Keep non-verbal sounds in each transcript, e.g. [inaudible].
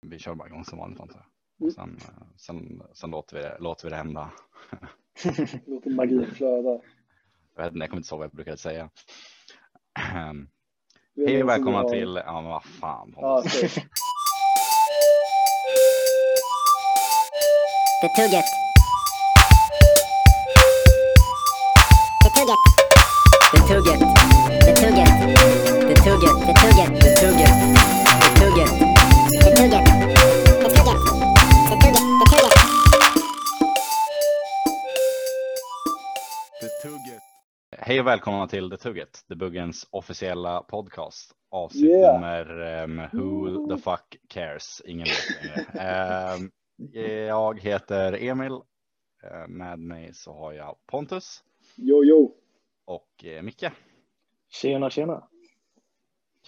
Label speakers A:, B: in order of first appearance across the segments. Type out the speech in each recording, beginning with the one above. A: vi kör bara igång som vanligt antar
B: Mm.
A: jag. Sen, eh, sen, sen låter, vi det, låter vi det hända.
B: Låter magin flöda.
A: Jag, vet, inte, jag kommer inte ihåg vad jag brukade säga. Ehm,
B: Det
A: [laughs]
B: är
A: Hej
B: någon
A: och
B: som
A: välkomna
B: har-
A: till, ja men vad fan.
B: Ja,
A: Pontus.
B: okej.
C: Betugget. Betugget. Betugget. Betugget. Betugget. Betugget. Betugget. Betugget. Betugget. Betugget. Betugget. Betugget.
A: [laughs] Hej och välkomna till The Tugget, Debuggens officiella podcast. Avsnitt
B: Yeah.
A: nummer ehm, Who the fuck cares? Ingen vet
B: [laughs]
A: längre. Ehm, Jag heter Emil. Ehm, Med mig så har jag Pontus
B: Jo, jo.
A: och eh, Micke.
D: Tjena, tjena.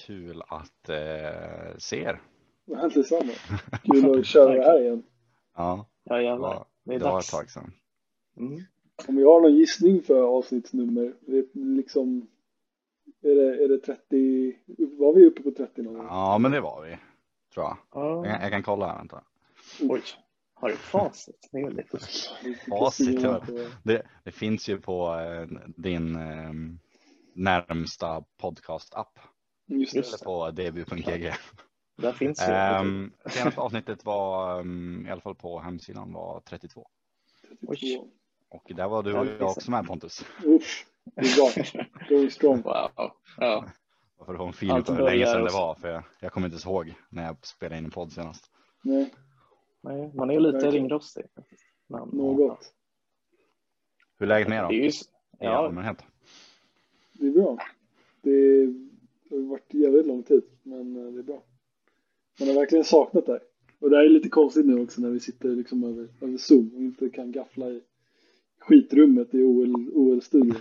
A: Kul att eh, se er.
B: Men Detsamma.
A: [laughs]
B: Kul att köra det här igen.
A: Ja,
D: Ja,
A: det
D: jävlar.
A: var,
D: Det är
A: det var ett
D: dags.
A: tag sedan.
D: Mm.
B: Om jag har någon gissning för avsnittsnummer, det är liksom... Är det, är det 30? Var vi uppe på 30 någon gång?
A: Ja, men det var vi. Tror jag. Jag kan,
D: Ja.
A: jag kan kolla här, vänta.
D: Oj, har du facit? Det är väldigt fusk.
B: typ
A: Facit, ja.
B: Precis.
A: Det, det finns ju på eh, din eh, närmsta podcast-app.
B: Just det.
D: Just det.
A: På dbu.gg.
D: Där finns ju.
A: Um, senaste avsnittet var, ehm, i alla fall på hemsidan, var 32.
B: 32.
A: Och där var du och
D: Ja,
A: jag
D: exakt.
A: också med Pontus.
B: Usch. Det är bra. Going strong.
D: wow. Ja.
A: För att få en fil
D: Allt
A: på hur länge
D: börjar
A: sedan det
D: och så.
A: var. För jag, jag kommer inte ens ihåg när jag spelade in en podd senast.
B: Nej,
D: Nej, man är ju lite
B: Verkligen.
D: ringrostig. faktiskt. Men,
B: något.
A: Hur är läget med er
D: Ja,
A: då?
D: det är ju, s-
A: I
D: ja,
A: allmänhet.
B: Det är bra. Det det har varit jävligt lång tid, men eh, det är bra. Man har verkligen saknat det. här. Och det här är lite konstigt nu också när vi sitter liksom över, över Zoom och inte kan gaffla i skitrummet i OL OL-studion.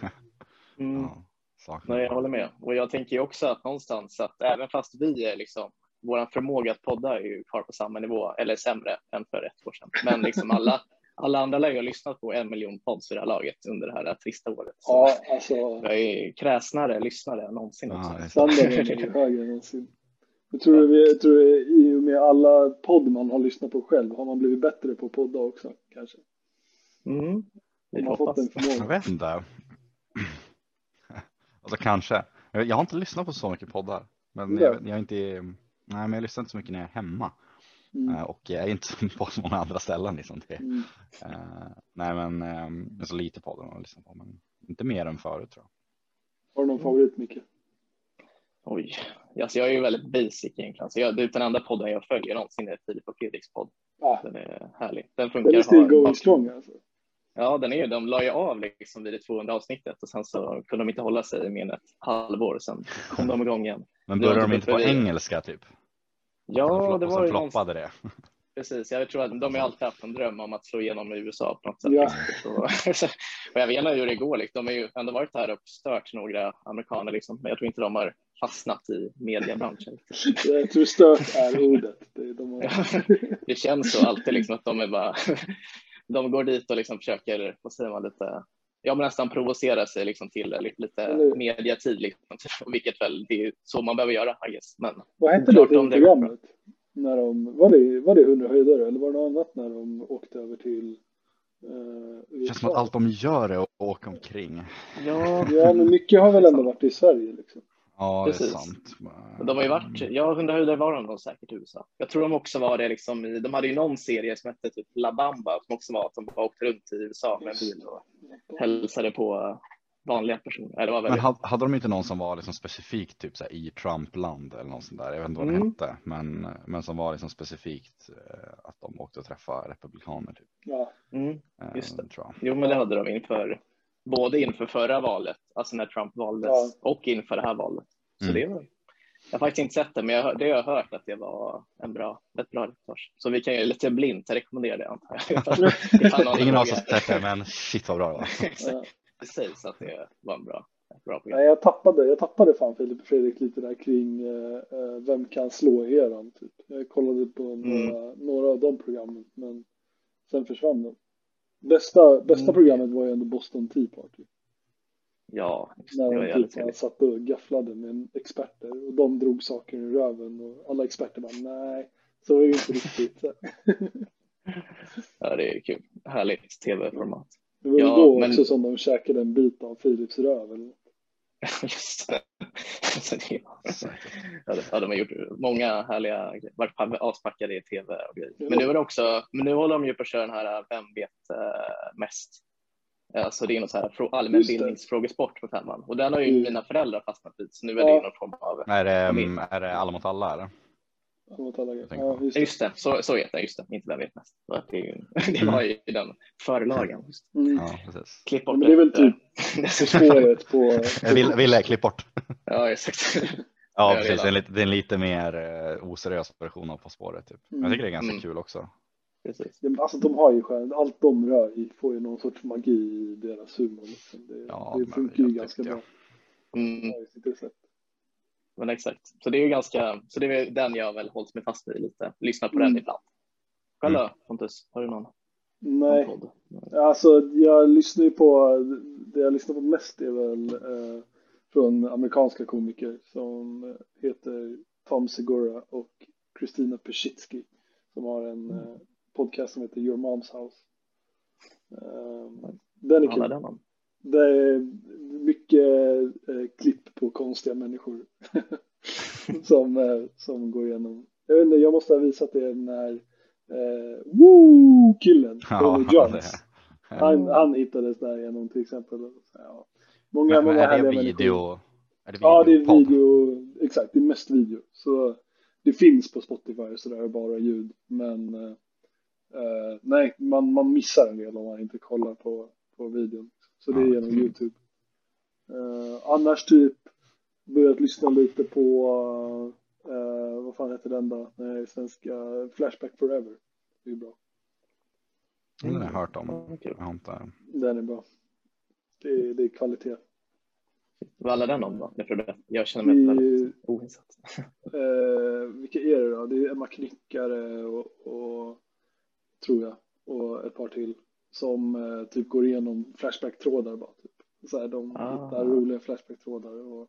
D: mm,
A: Ja, saknar
D: nej, jag håller med. Och jag tänker ju också att någonstans att även fast vi är liksom vår förmåga att podda är ju kvar på samma nivå eller sämre än för ett år sedan. Men liksom alla, alla andra lär ju ha lyssnat på en miljon pods i det här laget under det här trista året. Så.
B: [laughs] Ja, alltså
D: Jag är kräsnare lyssnare än någonsin
A: Ja,
D: också.
A: det är sant.
B: standarden är ju högre än någonsin. Jag tror, vi, jag tror i och med alla podd man har lyssnat på själv har man blivit bättre på att podda också kanske.
D: Mm. Vi
B: Man
D: får
B: har fått den
D: hoppas.
A: Jag
B: [laughs] förmågan.
A: vet inte. [clears throat] Alltså kanske. Jag jag har inte lyssnat på så mycket poddar. Men jag, jag är inte, nej, men jag lyssnar inte så mycket när jag är hemma.
B: Mm.
A: Eh, Och jag är inte [laughs] så på så många andra ställen. Liksom. Det,
B: Mm.
A: eh, nej men, eh, alltså lite poddar har jag lyssnat på. Men inte mer än förut tror jag.
B: Har du någon favorit Micke?
D: Oj. Alltså, jag är ju väldigt basic egentligen. Så jag, det är den enda podden jag följer någonsin är Filip och Fredriks podd.
B: Ah,
D: Den är härlig. Den funkar.
B: den är
D: har-
B: still going strong alltså.
D: Ja, den är ju. De la ju av liksom vid det 200 avsnittet och sen så kunde de inte hålla sig i mer än ett halvår. Sen kom de
A: [laughs]
D: igång igen.
A: Men
D: Det var
A: börjar de
D: typ
A: inte på
D: bredvid.
A: engelska typ? Och sen
D: Ja,
A: flop-
D: det
A: och
D: var
A: sen
D: ju någonstans.
A: floppade det.
D: Precis, jag tror att de har ju alltid haft en dröm om att slå igenom i USA på något sätt.
B: Ja.
D: Liksom. Så, [laughs] så, och jag vet inte hur det går, liksom. de har ju ändå varit här och stört några amerikaner, liksom. men jag tror inte de har fastnat i
B: [laughs]
D: mediebranschen.
B: Jag tror stört är ordet. Det är de har...
D: Det känns så alltid liksom, att de är bara, [laughs] de går dit och liksom försöker, vad säger man, lite, ja, men nästan provocera sig liksom, till det, lite,
B: Eller
D: lite
B: hur?
D: mediatid, liksom, vilket väl, det är ju så man behöver göra, I guess. Men
B: Vad hette det
D: Klart om det går bra.
B: programmet? När de, var, det, var det 100 höjdare eller var det något annat när de åkte över till eh,
A: Det känns som att allt de gör är att åka omkring.
D: ja,
B: Ja, men mycket har väl ändå varit i Sverige liksom.
A: Ja,
D: Precis.
A: det är sant.
D: Men De har ju varit,
A: Mm.
D: ja, hundra höjder var de nog säkert i USA. Jag tror de också var det liksom i, de hade ju någon serie som hette typ La Bamba som också var att de bara åkte runt i USA med en bil och hälsade på vanliga personer. Ja, Det var
A: Men
D: väldigt,
A: hade, hade de inte någon som var liksom specifikt typ så här, i Trumpland eller något sånt där? Jag vet inte vad den
D: Mm.
A: hette, men, men som var liksom specifikt eh, att de åkte och träffade republikaner. Typ.
B: Ja,
D: mm.
A: Eh,
D: Just det.
A: Tror jag.
D: Jo, men det hade de inför, både inför förra valet, alltså när Trump valdes,
B: Ja.
D: och inför det här valet. Så
A: Mm.
D: det var, jag har faktiskt inte sett det, men jag, hör- det har jag hört att det var en bra, ett bra reportage. Så vi kan ju lite blint rekommendera det, antar jag.
A: [laughs]
D: [laughs] Ifall någon
A: Ingen av oss har
D: frågar.
A: sett det, men shit vad bra det var.
B: [laughs] ja.
D: det sägs att det var en bra, ett bra program.
B: Nej, jag tappade, jag tappade fan Filip och Fredrik lite där kring eh, eh, vem kan slå eran typ. Jag kollade på
A: Mm.
B: några, några av de programmen men sen försvann de. Bästa, bästa
D: Mm.
B: programmet var ju ändå Boston Tea Party.
D: Ja, just det
B: När
D: det var
B: de
D: jävligt
B: typ bara
D: trevligt.
B: satt och gafflade med experter och de drog saker i röven och alla experter bara nej. Så är det inte riktigt. Det
D: Ja, det är kul. Härligt tv-format. [laughs]
B: var väl
D: Ja,
B: då
D: men-
B: också som de käkade en bit av Philips röv. Eller? något.
D: Just det. Så det.
A: Säkert.
D: Ja, de- ja, de har gjort många härliga grejer. Varit pa- aspackade i tv och grejer. Men nu, är det också, men nu håller de ju på att köra den här äh, Vem vet eh, mest? Alltså det är någon så här frå- allmänbildningsfrågesport på femman. Och den har ju
B: Mm.
D: mina föräldrar fastnat i. Så nu är
B: Ja.
D: det ju någon form av...
A: Är det, mm, är det alla mot alla? Eller?
B: Som att alla-
A: Jag tänker
B: Ja,
A: på.
B: just
D: Ja,
B: det.
D: Just det, så, så heter den. Just det, inte Vem vet mest. Så att Det, är ju, [laughs] det var ju den förlagen. Just. det.
B: Mm.
A: Ja, precis.
D: Klipp bort
B: Men det är väl
D: [laughs] det.
B: typ spåret på...
A: Eh, Ville, Ville, klipp bort.
D: Ja, exakt.
A: Ja,
D: Jag
A: precis.
D: gillar
A: Det är, lite, det är en lite mer eh, oseriös version av På spåret. Typ. Men Jag tycker det är ganska
D: Mm.
A: kul också.
D: Precis.
B: Ja, men Alltså de har ju själv, allt de rör i får ju någon sorts magi i deras humor. Liksom. Det,
A: Ja,
B: det
A: men
B: funkar ju
A: jag
B: ganska
A: tyckte
B: bra.
D: Mm.
B: Ja, det sitter slätt.
D: Men exakt, så det är ju ganska, så det är väl den jag väl hållit mig fast vid lite. Lyssna på
B: Mm.
D: den ibland. Själv då Pontus, har du någon, någon
B: Nej,
D: podd?
B: alltså jag lyssnar ju på, det jag lyssnar på mest är väl eh, från amerikanska komiker som heter Tom Segura och Christina Peschitzky som har en eh, podcast som heter Your Mom's House. Eh, den är
D: Vad handlar
B: kul.
D: den om?
B: Det är mycket eh, klipp på konstiga människor [laughs] som, eh, som går igenom. Jag vet inte, jag måste ha visat det när eh, Woo-killen,
A: Ja,
B: Tony Jones,
A: det-
B: han, han hittades där igenom till exempel. Ja. Många,
A: Men, men
B: många
A: är
B: härliga
A: det
B: människor.
A: video? Är det
B: Ja, det är
A: videopodd?
B: video. Exakt, det är mest video. Så det finns på Spotify och sådär, bara ljud. Men eh, eh, nej, man, man missar en del om man inte kollar på, på videon. Så det är
A: Ja.
B: genom YouTube. Eh, annars typ börjat lyssna lite på, eh, vad fan heter den då? Nej, svenska Flashback Forever. Det är bra.
A: Den har jag hört om.
D: Vad kul.
A: Jag har inte...
B: Den är bra. Det är, det är kvalitet.
D: Vad handlar den om då? Jag, tror det. jag känner mig väldigt
B: I,
D: oinsatt.
B: eh, vilka är det då? Det är Emma Knyckare och, och tror jag och ett par till som eh, typ går igenom Flashback-trådar bara. Typ. Så här, de
D: Ah.
B: hittar roliga Flashback-trådar och,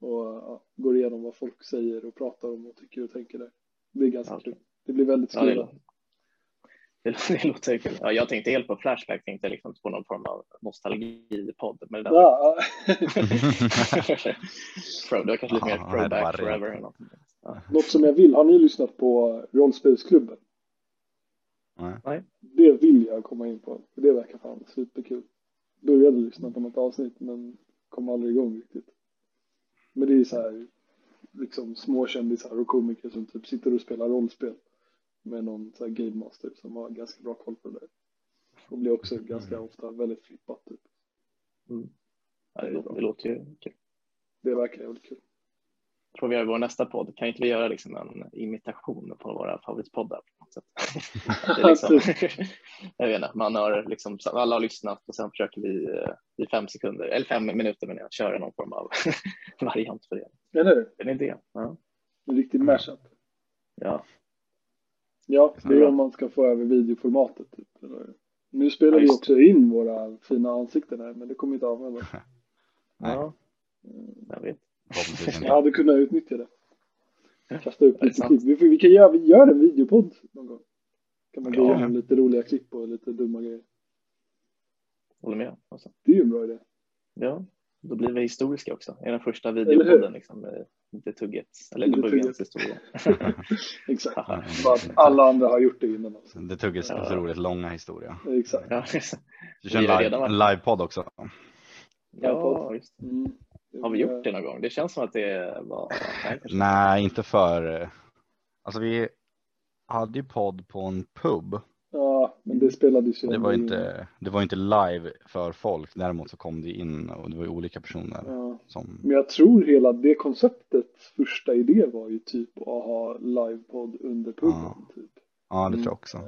B: och ja, går igenom vad folk säger och pratar om och tycker och tänker där. Det är ganska
D: Okej.
B: kul. Det blir väldigt
D: Ja, det,
B: skruvat.
D: låter- [laughs] det, låter- det låter kul. Ja, jag tänkte helt på Flashback, tänkte liksom på någon form av nostalgipodd. Men det där,
B: Ja, ja.
D: [laughs] Pro- det var kanske lite
A: Ja,
D: mer
A: det var
D: throwback
A: rent.
D: forever. Eller något. Ja.
B: Något som jag vill, har ni lyssnat på Rollspelsklubben?
A: Nej.
D: Nej.
B: Det vill jag komma in på, för det verkar fan superkul. Började lyssna på något avsnitt men kom aldrig igång riktigt. Men det är ju så här, liksom små kändisar och komiker som typ sitter och spelar rollspel med någon så här game master som har ganska bra koll på det där. Och blir också ganska ofta väldigt flippat typ.
D: Ja, det, låter, det låter ju kul.
B: Det verkar jävligt kul.
D: tror vi gör i vår nästa podd, kan inte vi göra liksom en imitation på våra favoritpoddar? På
B: [laughs]
D: något sätt? Det är liksom,
B: Typ.
D: [laughs] jag vet inte, man har liksom, alla har lyssnat och sen försöker vi eh, i fem sekunder, eller fem minuter menar jag, köra någon form av [laughs] variant för det.
B: Eller hur?
D: Är det en idé? Ja.
B: En riktig mashup.
D: ja.
B: Ja, det är
D: Ja.
B: om man ska få över videoformatet. Typ. eller- Nu spelar
D: Ja,
B: vi
D: just
B: också in våra fina ansikten här, men det kommer inte användas.
D: [laughs]
A: Nej.
D: ja. Mm, Jag vet.
A: Förhoppningsvis
B: Jag
A: inte.
B: hade kunnat utnyttja det. Kasta upp
D: Ja, det är
B: lite
D: sant.
B: klipp. Vi, får, vi kan göra, vi gör en videopodd någon gång. Kan man gå
D: Ja.
B: igenom lite roliga klipp och lite dumma grejer.
D: Håller med. Alltså.
B: Det är ju en bra idé.
D: Ja, då blir vi historiska också. Det är den första
B: hur?
D: videopodden, liksom, eh, inte tuggets, eller
B: Inte
D: buggens
B: Tuggets.
D: historia.
B: Exakt.
D: Haha.
B: Bara att alla andra har gjort det innan. Alltså.
A: Det tog en
D: Ja.
A: otroligt långa historia.
B: Exakt.
D: ja,
A: Du
D: Vi
A: kör en
D: har
A: live,
D: redan varit-
A: en livepodd också.
D: [laughs] ja, just.
B: Mm.
D: Har vi gjort det någon gång? Det känns som att det var...
B: [laughs]
D: Nej, kanske.
A: Nej, inte för... eh, Alltså vi hade ju podd på en pub.
B: Ja, men det spelades ju
A: Det var
B: ändå in.
A: inte, det var inte live för folk. Däremot så kom det in och det var ju olika personer
B: Ja.
A: som...
B: Men jag tror hela det konceptets första idé var ju typ att ha livepodd under puben.
A: Ja.
B: Typ.
A: Ja, det
D: Mm.
A: tror jag också.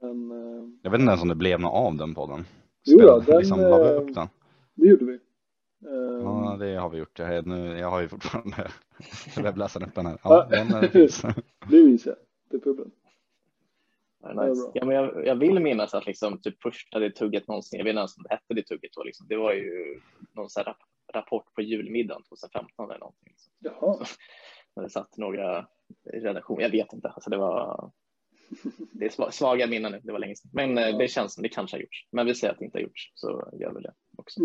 B: Men eh,
A: Jag vet inte ens om det blev något av den podden.
B: Jo då,
A: Spelade-
B: den,
A: liksom, la vi
B: eh,
A: upp den.
B: det gjorde vi. Eh,
A: Ja, det har vi gjort. Jag, är- nu, jag har ju
B: [laughs]
A: fortfarande webbläsaren öppen här. Ja,
B: Ja.
A: den eh, finns.
B: Det minns jag. Det är puben.
D: Ja,
B: Det är
D: Nice.
B: bra.
D: Ja, men jag, jag vill minnas att liksom, typ första det tugget någonsin, jag vet inte ens om det hette det tugget då, liksom, det var ju någon så här rap- rapport på julmiddagen 2015 eller någonting. Liksom.
B: Jaha.
D: Där det satt några redaktion. Jag vet inte. Alltså det, var, det är sva- svaga minnen nu. Det var länge sedan. Men eh, det känns som det kanske har gjorts. Men vi säger att det inte har gjorts så gör vi det också.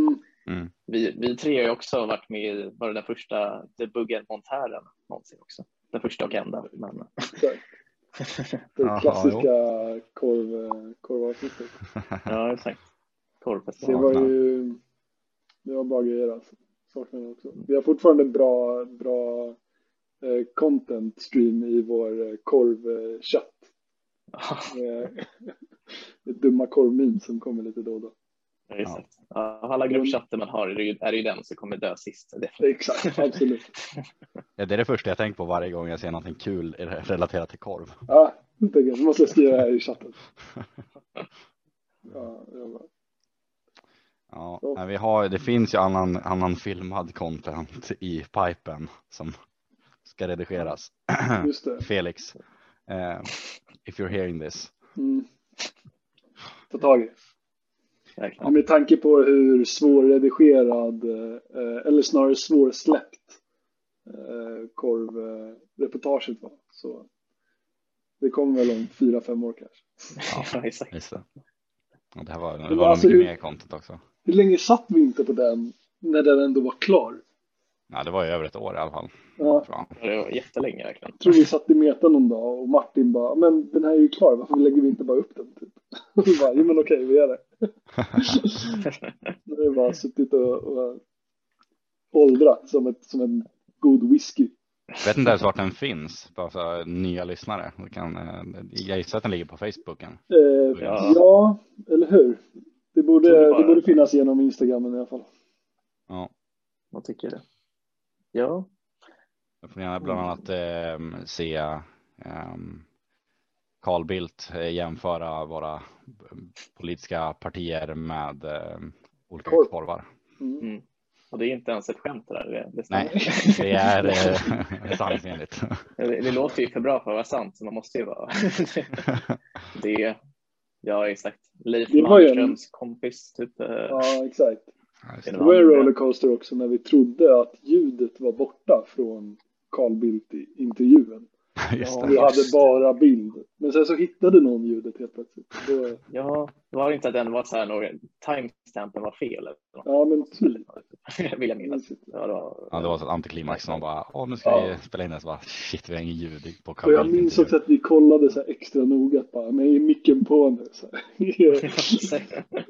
B: Mm.
D: Vi, vi tre har ju också varit med i var det den första debugger-montären någonsin också. Den första och enda. Men,
B: Det
A: Jaha,
B: klassiska korv, eh, korvavsnittet.
D: ja, exakt.
B: Det
D: Korvfestivalen.
B: var ju det var bra grejer alltså. Saknar det också. Vi har fortfarande bra, bra eh, content stream i vår eh, korvchatt.
A: [laughs]
D: [laughs]
B: Med med dumma korvmin som kommer lite då och då.
D: Ja, just det. Ja, Av alla gruppchatter man har är det ju, är det ju den som kommer dö sist. definitivt.
B: Exakt, absolut.
A: Ja, det är det första jag tänker på varje gång jag ser någonting kul relaterat till korv.
B: Ja, det tänker jag. Nu måste jag skriva här
A: [laughs]
B: i chatten. Ja, det var bra.
A: Ja,
B: Ja.
A: nej, vi har, det finns ju annan, annan filmad content i pipen som ska redigeras.
B: Just det.
A: Felix, eh, if you're hearing this.
B: Mm. Ta tag i det.
D: [laughs] Verkligen.
B: Med tanke på hur svårredigerad, eh, eller snarare svårsläppt eh, korvreportaget var. Så det kommer väl om fyra, fem år kanske.
D: Ja, exakt.
A: Just det. Ja, det här var, det
B: Men
A: var
B: alltså,
A: mycket
B: hur-
A: mer content också.
B: Hur länge satt vi inte på den när den ändå var klar?
A: Ja, det var ju över ett år i alla fall.
B: Ja,
A: tror jag.
D: Det var jättelänge verkligen.
B: jag tror vi satt i meta någon dag och Martin bara, men den här är ju klar, varför lägger vi inte bara upp den? Typ. [laughs] Och vi bara, jo men okej, vi gör det. Det har bara suttit och, och åldrat som, ett, som en god whisky.
A: Vet inte ens vart den finns, bara för nya lyssnare. Vi Kan, eh, jag gissar att den ligger på Facebooken.
B: Eh,
D: Ja.
B: ja. eller hur? Det borde,
D: Tror det bara-
B: det borde finnas genom Instagram i alla fall.
A: Ja,
D: Vad tycker du? Ja,
A: då får ni gärna bland annat eh, se eh, Carl Bildt eh, jämföra våra ehm, politiska partier med eh, olika
B: Korv.
A: korvar.
B: Mm.
D: och det är inte ens ett skämt det där. Det,
A: [laughs]
D: det, stämmer.
A: Nej, det är eh, [laughs] sanningsenligt.
D: [laughs] det, det låter ju för bra för att vara sant, så man måste ju vara... [laughs] det, ja, exakt. Leif
B: Det var ju en-
D: Malmströms kompis, typ. eh,
B: Ja, exakt.
A: Ja, just
D: Det
B: Det
A: det.
B: var en rollercoaster också när vi trodde att ljudet var borta från Carl Bildt i intervjun.
A: [laughs] Just
B: Vi
A: det.
B: hade bara bild. Men sen så hittade någon ljudet helt plötsligt. Då,
D: Ja, var det inte att den var så här, någon, timestampen var fel? Eller något? [laughs]
B: ja, men typ.
D: Vill jag
B: Mm.
D: minnas.
A: Alltså,
D: Ja, det var,
A: Ja, det
D: [laughs]
A: var så ett antiklimax. Man bara, åh, nu ska vi spela in det. Så bara, shit, vi har ingen ljud på
B: Och
A: Carl
B: jag
A: Bildt.
B: minns också
A: intervju.
B: att vi kollade så här extra noga. Bara, men är micken på nu? Så här.
A: [laughs]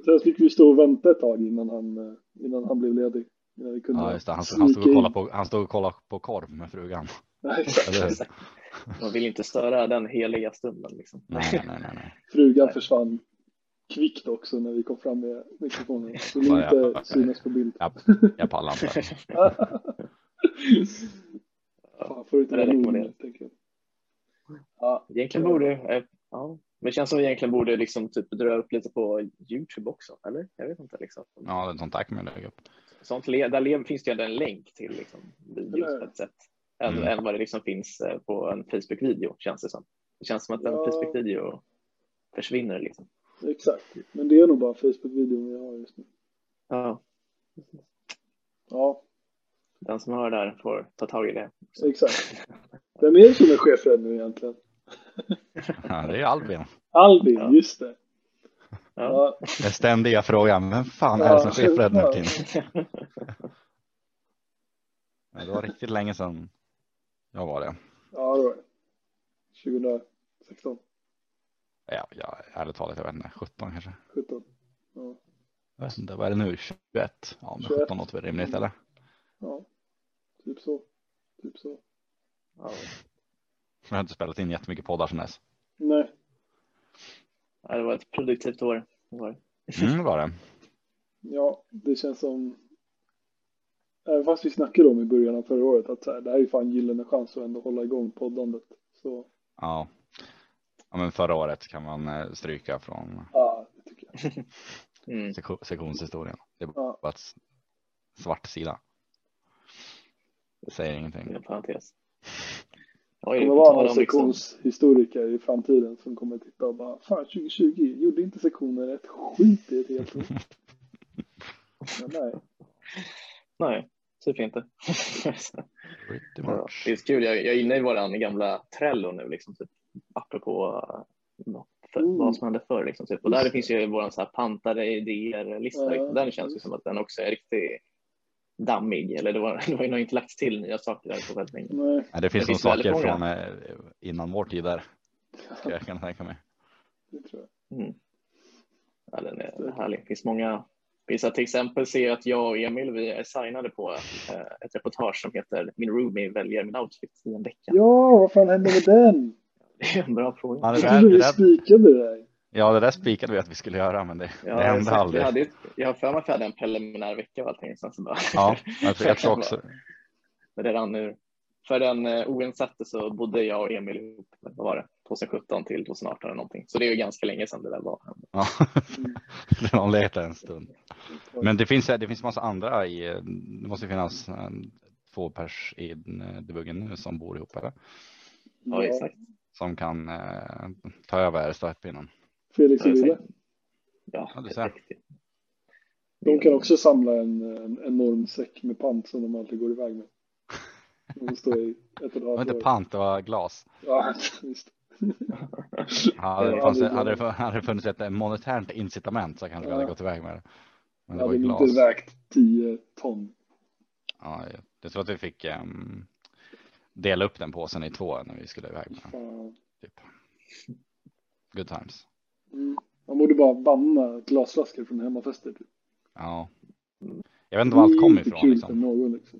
B: sen fick vi stå och vänta ett tag innan han, eh, innan han blev ledig. Innan vi kunde
A: Ja, just det. Han, han, stod och
B: sneaka in.
A: kollade på, han stod och kollade på korv med frugan.
B: Nej, exakt.
A: Eller hur?
D: Man vill inte störa den heliga stunden. Liksom.
A: Nej, nej, nej. nej.
B: Frugan försvann kvickt också när vi kom fram med mikrofonen. Så vill
A: Ja, ja.
B: inte synas
A: [laughs]
B: på bild.
A: Jag, jag pallar [laughs] inte.
B: Fan, får du inte
D: Det
B: det här
D: rekommenderar.
B: numret, tänker jag. Ja,
D: [laughs] Egentligen borde, eh, ja, men det känns som vi egentligen borde liksom typ dra upp lite på Youtube också, eller? Jag vet inte liksom.
A: Ja, det är en sån tack med lägga upp.
D: Sånt le- där le- finns det ju ändå en länk till liksom, videos på ett sätt. Än,
A: Mm.
D: än vad det liksom finns eh, på en Facebook-video känns det som. Det känns som att en
B: Ja.
D: Facebook-video försvinner liksom.
B: exakt. Men det är nog bara Facebook-videon vi har just nu.
D: Ja,
B: Ja,
D: den som hör där får ta tag i det.
B: exakt. Vem är det som är chef nu egentligen?
A: Ja, det är Albin.
B: Albin,
D: Ja.
B: just det.
D: Ja.
B: Ja,
A: Den ständiga frågan. Vem fan är det som
B: Ja,
A: chefred nu
B: ja.
A: för tiden?
B: [laughs]
A: Ja, Det var riktigt länge sedan jag var det.
B: ja det var det. 2016,
A: Ja, ja, ärligt talat, jag vet inte. 17 kanske.
B: 17. Ja,
A: Jag vet inte, vad är det nu? 21? Ja, men
B: 21.
A: 17 låter väl rimligt eller?
B: ja. typ så. Typ så.
D: Ja.
A: Jag har inte spelat in jättemycket poddar sedan dess.
B: Nej.
D: Ja, det var ett produktivt år. Det var det.
A: Mm, det var det.
B: Ja, det känns som... Även fast vi snackade om i början av förra året att så här, det här är ju fan gyllene chans att ändå hålla igång poddandet. Så
A: Ja. ja, men förra året kan man eh, stryka från
B: ja, det tycker jag.
D: Mm.
A: seko- sektionshistorien. Det är
B: Ja.
A: bara ett s- svart sida. Det säger ingenting.
B: Mm.
D: Inom parentes. Oj,
B: Det
D: på
B: kommer vara
D: tal
B: någon
D: om liksom-
B: sektionshistoriker i framtiden som kommer titta och bara Fan 2020 gjorde inte sektioner
A: [laughs]
B: ett skit i ett helt år. Men nej,
D: Nej, Typ inte. [laughs]
A: Pretty
D: Ja,
A: much.
D: det är så kul, jag, jag är inne i våran gamla Trello nu, liksom, typ, apropå eh, något för,
B: Mm.
D: vad som hände förr. Liksom, typ. Och
B: Just
D: där
B: det.
D: finns ju våran så här, pantade idéer-lista.
B: Ja,
D: liksom. Den känns ju
B: just
D: som att den också är riktigt dammig. Eller det var, [laughs] det var ju nog inte lagt till nya saker där på väldigt länge.
B: Nej.
A: Nej, det finns
D: Det
A: nog
D: finns väldigt
A: saker
D: många.
A: från eh, innan vår tid där. ska Jag kan tänka mig.
B: Det tror jag.
D: Ja, den är härlig. Det finns många. Vi ska till exempel se att jag och Emil vi är signade på eh, ett reportage som heter Min roomie väljer min outfit i en vecka.
B: Ja, vad fan hände med den?
D: Det är en [laughs] bra fråga.
A: Ja, det
B: Jag
A: där,
B: trodde
A: det
B: vi
A: där,
B: spikade det där.
A: ja, det där spikade vi att vi skulle göra, men det,
D: Ja,
A: det hände
D: exakt.
A: aldrig.
D: Jag, hade, ju- jag har för mig att jag hade en preliminär vecka och allting. Sen så bara,
A: Ja, [laughs] jag tror, jag tror också.
D: [laughs] men det rann ur. För den eh, oinsatte så bodde jag och Emil ihop, vad var det, 2017 till 2018 eller någonting. Så det är ju ganska länge sedan det där var.
A: Ja. [laughs] Det har legat där en stund. Men det finns, det finns massa andra i, det måste ju finnas eh, två pers i eh, debuggen nu som bor ihop eller?
D: Ja, exakt.
A: Som kan eh, ta över startpinnen.
B: Felix och Wille.
D: Ja,
A: Ja, du
D: helt
A: ser.
D: riktigt.
B: De kan också samla en, en enorm säck med pant som de alltid går iväg med. De står i ett och
A: Det
B: ett
A: var
B: halvt
A: inte
B: år.
A: pant, det var glas.
B: Ja, [laughs] visst.
A: Hade det
B: Ja,
A: fanns-
B: det-
A: hade det hade det funnits ett monetärt incitament så kanske vi hade
B: Ja.
A: gått iväg med det. Men det var
B: Hade de
A: glas.
B: inte vägt 10 ton.
A: Ja, jag tror att vi fick ehm, dela upp den påsen i två när vi skulle iväg med den.
B: Fan.
A: Typ. Good times.
B: Mm. Man borde bara banna glasflaskor från hemmafester. Typ.
A: Ja. Jag vet inte var allt kom
B: Det är inte
A: ifrån.
B: kul
A: Liksom.
B: för någon, liksom.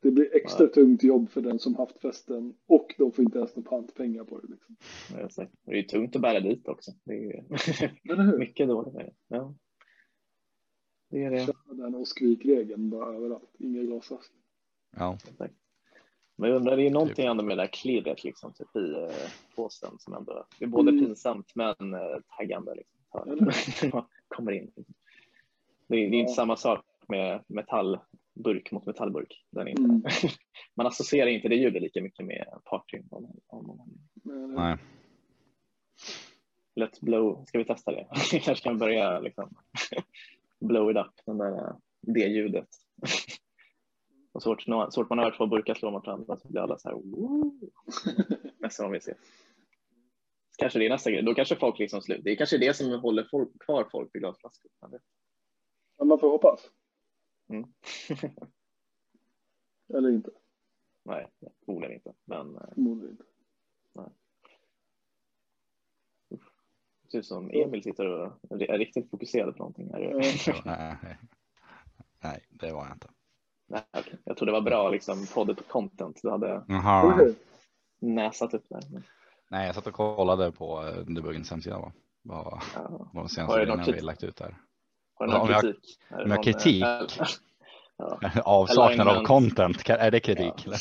B: Det blir extra tungt jobb för den som haft festen och de får inte ens några pantpengar på det. Liksom.
D: Ja, exakt. Och Det är ju tungt att bära dit också. Det är ju [laughs]
B: Eller hur?
D: mycket dåligt. med det. Ja. Det är det.
B: Kör den Oskvik-regeln bara överallt. Inga glasflaskor.
A: Ja.
D: Men jag undrar, det är någonting
A: Typ.
D: ändå med det där klirret liksom, typ i eh, påsen som ändå, det är både
B: Mm.
D: pinsamt men eh, taggande. Liksom. Så här,
B: Eller?
D: man [laughs] kommer in. Det är, det är inte
B: Ja.
D: samma sak med metallburk mot metallburk. Den är inte,
B: Mm.
D: [laughs] Man associerar inte det ljudet lika mycket med party. Om, om, om.
B: Men, eh,
A: Nej.
D: Let's blow, ska vi testa det? [laughs] Vi kanske kan börja liksom, [laughs] blow it up, den där, eh, det ljudet. [laughs] Och så fort, nå- så fort man hör två burkar slå mot varandra så blir alla så här "Woo!" [laughs] nästa gång vi ses. Kanske det är nästa grej, då kanske folk liksom slut. Det är kanske det som håller folk, kvar folk vid glasflaskor. Jag vet.
B: Men man får hoppas.
D: Mm.
B: [laughs] Eller inte.
D: Nej, förmodligen inte. Men eh,
B: Förmodligen inte.
D: det ser ut som Emil sitter och är riktigt fokuserad på någonting. Här.
B: Ja.
A: Nej. Nej, det var jag inte.
D: [laughs] Nej, okej. Jag tror det var bra liksom, podd content. Du hade
B: Eller
A: Jaha.
B: hur?
D: näsat upp där. Men,
A: Nej, jag satt och kollade på eh, debuggens hemsida. Va? Vad
D: ja.
A: vad de
D: Har
A: senaste
D: det någon
A: grejerna vi
D: krit-
A: lagt ut där? [laughs]
D: Har du någon
A: Om jag-
D: kritik? Är det
A: om jag
D: någon,
A: kritik?
D: eh, [laughs] Ja,
A: Avsaknad av
D: Alignment.
A: content, Kan- är det kritik?
D: Ja.
A: eller?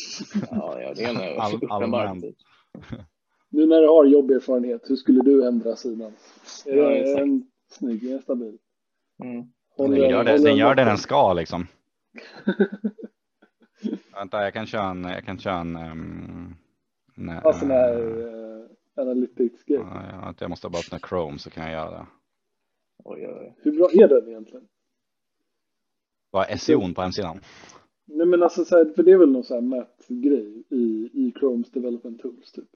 D: ja, ja, det är
A: [laughs]
D: en
A: All-
D: uppenbar
A: allmän.
D: kritik.
B: Nu när du har jobberfarenhet, hur skulle du ändra sidan? Är
D: Ja,
B: det
D: exakt.
B: en snygg, är den stabil?
D: Mm.
A: Den
B: Håller
A: gör det
B: håller
A: den, gör det den
B: borta?
A: ska
B: [laughs]
A: liksom. Vänta, jag kan köra en... Jag kan köra en... Um, nej,
B: Ja, sån här
A: eh,
B: uh, analytics-grej.
A: ja, jag måste bara öppna Chrome så kan jag göra det.
D: Oj, oj, oj.
B: Hur bra är den egentligen?
A: Vad är SEO n E på hemsidan?
B: Nej men alltså så här, för det är väl någon sån här mätgrej i, i Chromes Development Tools typ.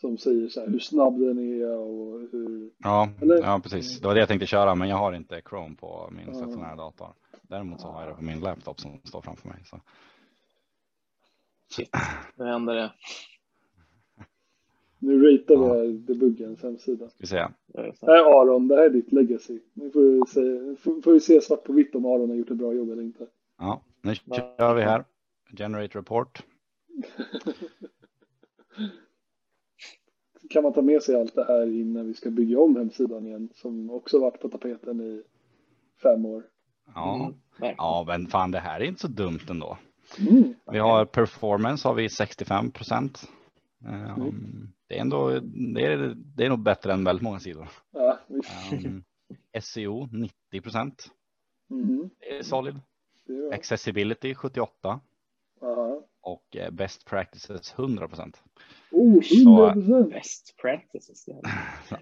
B: Som säger så här hur snabb den är och hur...
A: Ja,
B: Eller-
A: ja, precis. Det var det jag tänkte köra, men jag har inte Chrome på min
B: Ja.
A: stationära dator. Däremot så har jag det på min laptop som står framför mig. Så.
D: Shit, nu händer det.
B: Nu ratear
A: Ja.
B: vi debuggens hemsida.
A: Ska vi se.
D: Ja, just
B: Det
D: det.
B: här är Aron, det här är ditt legacy. Nu får vi se, får, får vi se svart på vitt om Aron har gjort ett bra jobb eller inte.
A: Ja, nu
D: Va-
A: kör vi här. Generate report.
B: kan man ta med sig allt det här innan vi ska bygga om hemsidan igen som också varit på tapeten i fem år.
A: Ja.
D: Mm, verkligen.
A: ja, men fan det här är inte så dumt ändå.
B: Mm.
A: Vi har performance har vi 65 procent. Ehm,
B: Mm.
A: Det är ändå, det är, det är nog bättre än väldigt många sidor.
B: Ja, visst.
D: [laughs]
A: Ehm, SEO 90 procent.
B: Mhm.
A: Det är solid.
B: Det är bra.
A: Accessibility 78
B: Aha.
A: och eh, best practices 100 procent.
B: Oh,
A: Så-
B: 100 procent!
D: Best practices. jävlar.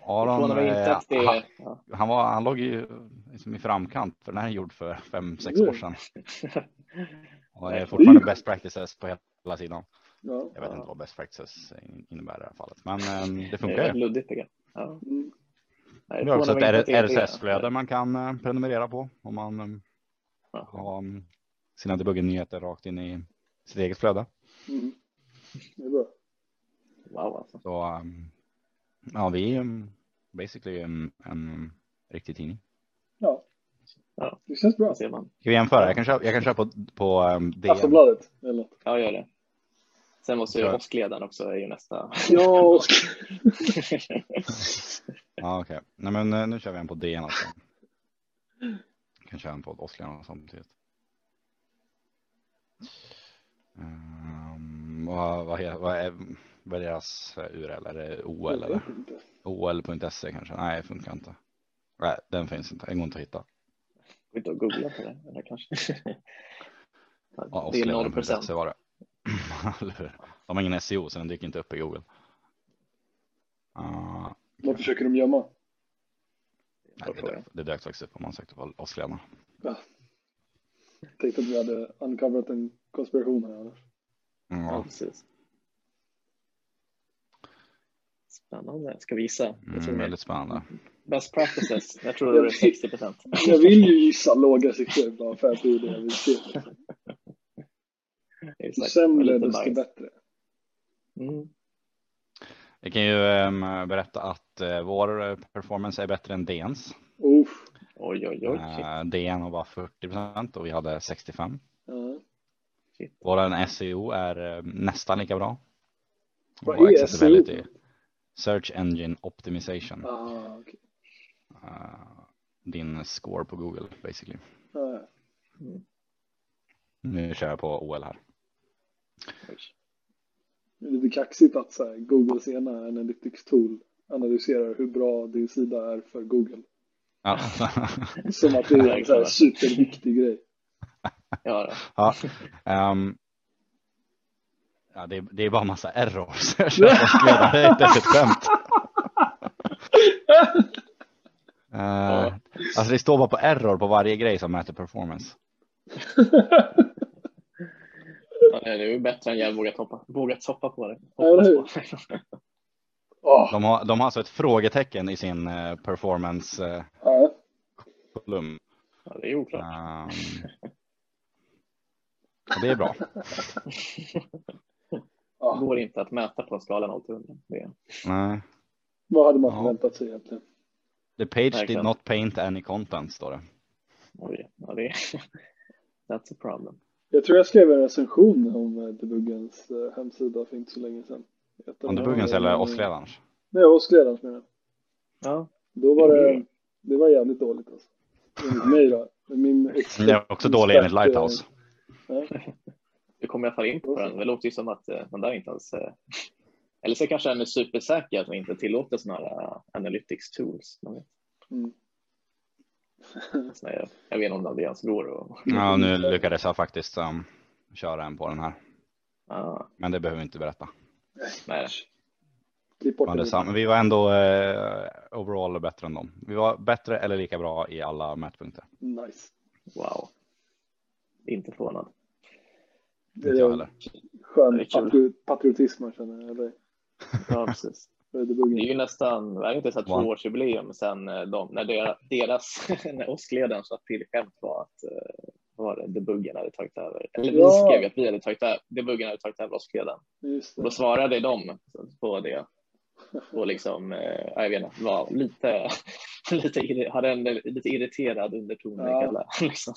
A: Aron,
D: Förvånar mig inte
A: eh,
D: att det
A: han,
D: är... Ja.
A: han, var, han låg ju liksom i framkant för den här är gjord för fem sex
B: Mm.
A: år sedan. Och det är fortfarande best practices på hela sidan.
B: Ja.
A: Jag vet
D: Ja.
A: inte vad best practices in- innebär i det här fallet, men eh, det
D: Det
A: funkar
D: är ett
A: ju.
D: luddigt begrepp. Ja.
B: Mm.
D: Nej,
A: Vi har också
D: förvånar mig
A: ett
D: inte att det är-
A: RSS-flöde man kan eh, prenumerera på om man eh,
D: Ja.
A: ha mm, sina debuggen-nyheter rakt in i sitt eget flöde.
B: Mm. Det är bra.
D: Wow, alltså.
A: Så um, ja, vi är um, basically en, en riktig tidning.
B: Det känns bra.
D: Vad ser man?
A: Ska vi jämföra? Jag kan köra, jag kan köra på, på um, DN.
B: Aftonbladet eller något.
D: Ja, gör det. Sen måste ju
A: Kör.
D: åskledaren också är ju nästa. [laughs]
B: [laughs] Ja, och...
A: Ja, okej. Nej, men eh, nu kör vi en på DN alltså. Jag kan köra en på Oskar samtidigt. Um, vad, vad, he- vad, är, vad är deras eh, URL? Är det OL eller?
B: Jag vet inte.
A: OL.se E kanske? Nej, det funkar inte. Nej, den finns inte. Den går inte att hitta.
D: Gå inte och googla på det. Eller kanske.
A: Ja,
D: det är
A: Oskar
D: 0
A: Lundberg,
D: procent.
A: så var det. [laughs] Eller hur? De har ingen SEO så den dyker inte upp i Google. Ah,
B: Vad försöker de gömma?
A: nej, det, dök, det dök faktiskt upp om man sökte på Åsklena.
B: Tänkte att vi hade uncoverat en konspiration här annars.
D: Ja,
A: Ja,
D: precis. Spännande. Ska vi gissa? Jag tror
A: mm, väldigt spännande.
D: Best practices. Jag tror det är 60 procent.
B: Jag vill ju gissa låga siffror bara för att det är det jag
A: [laughs]
B: vill se. Ju sämre desto bättre.
D: Mm.
A: Jag kan ju ehm, berätta att eh, vår eh, performance är bättre än DNs.
B: Uff.
D: Oj, oj, oj. Shit,
A: Eh, DN har bara 40 procent och vi hade 65. Mm.
B: Ja.
D: shit.
A: Vår SEO är eh, nästan lika bra.
B: Vad
A: Och
B: är E
A: accessibility,
B: SEO?
A: Search Engine Optimization.
B: Ah, okej.
A: Eh, din score på Google basically.
B: Ah, ja.
A: Nu kör jag på OL här.
D: Oj.
B: Det är lite kaxigt att så här, Googles ena Analytics tool analyserar hur bra din sida är för Google.
A: Ja, [laughs]
B: Som att det är en så här, superviktig
A: [laughs]
B: grej.
D: Ja, då.
A: ja. ehm, ja det, är, det är bara massa errors. [laughs] Jag kör åskledare, det är inte ens ett skämt.
B: Ah,
A: Eh, Alltså det står bara på error på varje grej som mäter performance.
D: Ja, det är ju bättre än jag vågat hoppa, vågat hoppa på det.
B: Eller hur?
D: Hoppas på [laughs] det.
B: Ah,
A: De har, de har alltså ett frågetecken i sin eh, performance-kolumn.
B: ja.
D: Ja, det är oklart.
A: Ehm, och det är bra.
D: [laughs] Det
B: ah.
D: går inte att mäta på en skala 0 till 100. Det är...
A: Nej.
B: Vad hade man
A: Ja.
B: förväntat sig egentligen?
A: The page did
D: Verkligen.
A: not paint any content står det.
D: Oj, ja, det är... [laughs] That's a problem.
B: Jag tror jag skrev en recension om eh, Debuggens eh, hemsida för inte så länge sedan. Ett av
A: Om
B: de
A: du buggens
B: här-
A: eller åskledarens.
B: Nej, åskledarens menar jag.
D: Ja,
B: Då var
D: Mm.
B: det, det var jävligt dåligt alltså. Enligt mig då. Men Min expert,
A: Det är också dålig enligt
B: expert, eh,
A: Lighthouse.
D: du kommer i alla fall in på den. Det låter ju som att eh, den där inte alls... eh, Eller så kanske den är supersäker att den inte tillåter sådana här eh, analytics tools. Man vet.
B: Mm.
D: [laughs] Såna här- Jag vet inte om det är hans bror. Och...
A: Ja, nu lyckades jag faktiskt um, köra en på den här.
D: Ah,
A: Men det behöver vi inte berätta.
D: nej.
B: Klipp bort
A: Men
B: det.
A: det sam- vi var ändå eh, overall bättre än dem. Vi var bättre eller lika bra i alla mätpunkter.
B: Nice.
D: Wow. Inte förvånad.
A: Inte jag heller.
B: Skön
D: Det är kul.
B: patri- patriotism man känner. Eller
D: Ja, precis.
B: för
D: Det
B: Debuggen.
D: är ju nästan, är det inte så här
A: Wow.
D: tvåårsjubileum sen eh, de, när deras, deras [laughs] när åskledaren sa till skämt var att eh, var det debuggen hade tagit över. Eller vi
B: Ja.
D: skrev ju att vi hade tagit över, debuggen hade tagit över åskledaren.
B: Just
D: Och då
B: det.
D: svarade de på det. Och liksom, eh, jag vet inte, var lite, [laughs] lite, irri- hade en lite irriterad underton i
B: Ja.
D: hela. [laughs] Liksom.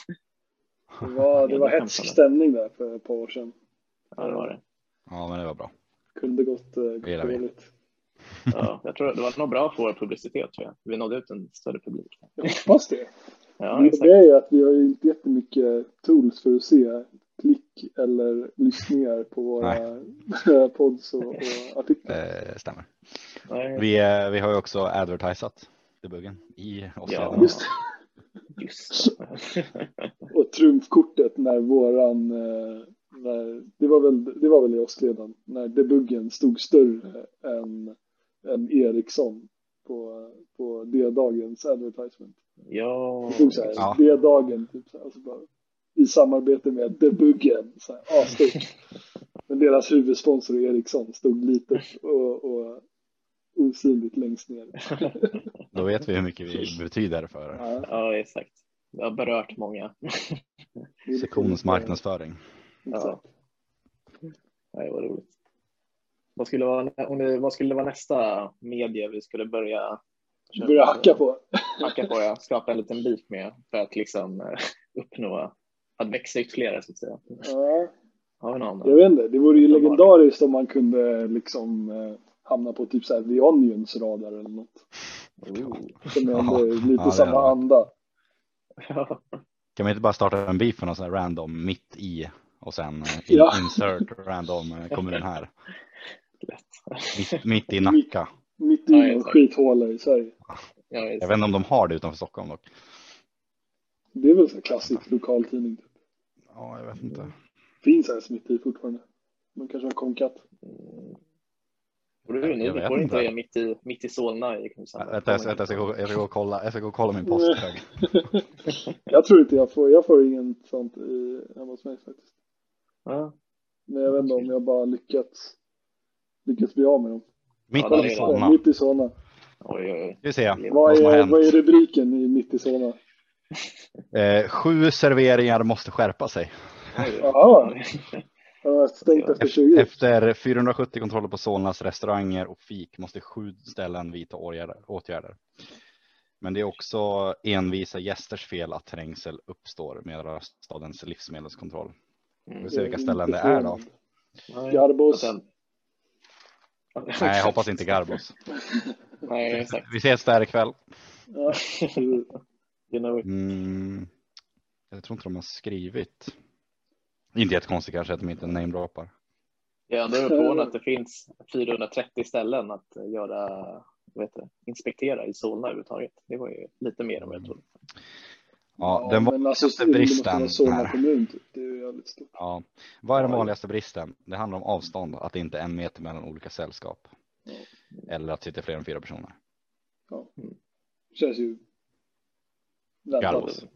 B: Det var, det var hetsk
D: alltså.
B: stämning där för ett par år sedan.
D: Ja, det var det.
A: Ja, men det var bra.
B: Kunde gått eh,
A: gillar vi.
B: dåligt.
D: Ja, jag tror det var nog bra för vår publicitet tror jag. Vi nådde ut en större publik.
B: Jag hoppas det.
D: Ja,
B: Men
D: exakt.
B: det är ju att vi har ju inte jättemycket tools för att se klick eller lyssningar på våra [laughs] pods och, och artiklar.
A: Eh, stämmer.
D: Nej,
A: Vi, eh, vi har ju också advertisat debuggen i
D: Ja.
A: åskledarna.
B: Just
D: Just det. [laughs]
B: Och trumfkortet när våran, eh, när, det, var väl, det var väl i oss redan, när debuggen stod större än, än Ericsson på, på D-dagens advertisement.
D: Ja,
B: [laughs] Det stod så här,
A: Ja.
B: D-dagen, typ så här, alltså bara i samarbete med Debuggen. Så
A: [laughs]
B: här, asstort. Men deras huvudsponsor Ericsson stod litet och, och osynligt längst ner.
A: Då vet vi hur mycket vi betyder för
B: Ja,
D: Ja, exakt. Det har berört många.
B: det är
A: sektions marknadsföring.
B: Exakt.
D: Nej, vad roligt. Vad skulle, vara, om det, vad skulle vara nästa medie vi skulle börja
B: Börja hacka på.
D: hacka på? Ja. Skapa en liten bit med för att liksom eh, uppnå, att växa ytterligare så att säga.
B: Ja,
D: Har vi någon?
B: jag vet inte, det vore ju legendariskt om man kunde liksom eh, hamna på typ så här The Onions radar eller något.
D: Oh.
B: Som är ändå lite
A: Ja, det hade
B: samma
A: varit.
B: anda.
D: [laughs] Ja,
A: Kan man inte bara starta en beef med någon sån här random mitt i och sen eh, in,
B: Ja.
A: insert random eh, kommun här.
D: lätt.
A: Mitt, mitt i Nacka.
B: Mitt i
D: Ja,
B: någon
D: exakt.
B: skithåla i Sverige.
D: Ja, just
A: Jag vet inte om de har det utanför Stockholm dock.
B: Det är väl så klassisk lokaltidning. typ.
A: Ja, jag vet inte.
B: Finns här mitt i fortfarande. Man kanske har konkat.
D: Bor du nu?
A: Jag
D: Du
A: vet
D: bor
A: inte.
D: inte mitt i, mitt i Solna i liksom. Kungshamn?
A: Vänta, jag, ska- vänta, jag, ska gå, jag, ska gå och kolla, jag ska gå och kolla min posthög.
B: Jag tror inte jag får, jag får inget sånt i, hemma hos mig faktiskt.
D: Ja,
B: Men jag vet inte om jag bara lyckats, lyckats bli av med dem.
A: Mitt
D: Ja, det
A: i
D: är-
A: Solna.
B: Mitt i Solna.
D: oj, oj, oj.
A: Ska vi se vad
B: Vad
A: som har
B: är, vad är
A: hänt.
B: rubriken i Mitt i Solna?
A: Eh, sju serveringar måste skärpa sig.
D: oj.
B: Jaha.
D: [laughs]
B: Har de stängt efter 20?
A: Efter 470 kontroller på Solnas restauranger och fik måste sju ställen vidta åtgärder- åtgärder. Men det är också envisa gästers fel att trängsel uppstår med stadens livsmedelskontroll. Vi får se vilka ställen det är då.
D: Ja, ja. Mm. Och
B: Garbos.
D: sen-
A: Nej, jag hoppas
D: [laughs]
A: inte Garbos.
D: Nej, exakt.
A: Vi ses där ikväll.
B: Ja, precis.
D: You know it.
A: Mm, jag tror inte de har skrivit. Inte jättekonstigt kanske att de inte namedroppar.
D: Jag är ändå förvånad att det finns 430 ställen att göra, vad heter det, inspektera i Solna överhuvudtaget. Det var ju lite mer än vad jag
A: Mm,
D: trodde.
A: Ja, den var...
B: men alltså,
A: största
B: det måste
A: bristen
B: vara Solna
A: här.
B: kommun typ. Det är ju jävligt stort.
A: ja. Vad är den vanligaste bristen? Det handlar om avstånd, att det inte är en meter mellan olika sällskap.
B: Ja.
A: Eller att sitta fler än fyra personer.
B: Känns ju...
A: Garbos.
B: Väntat.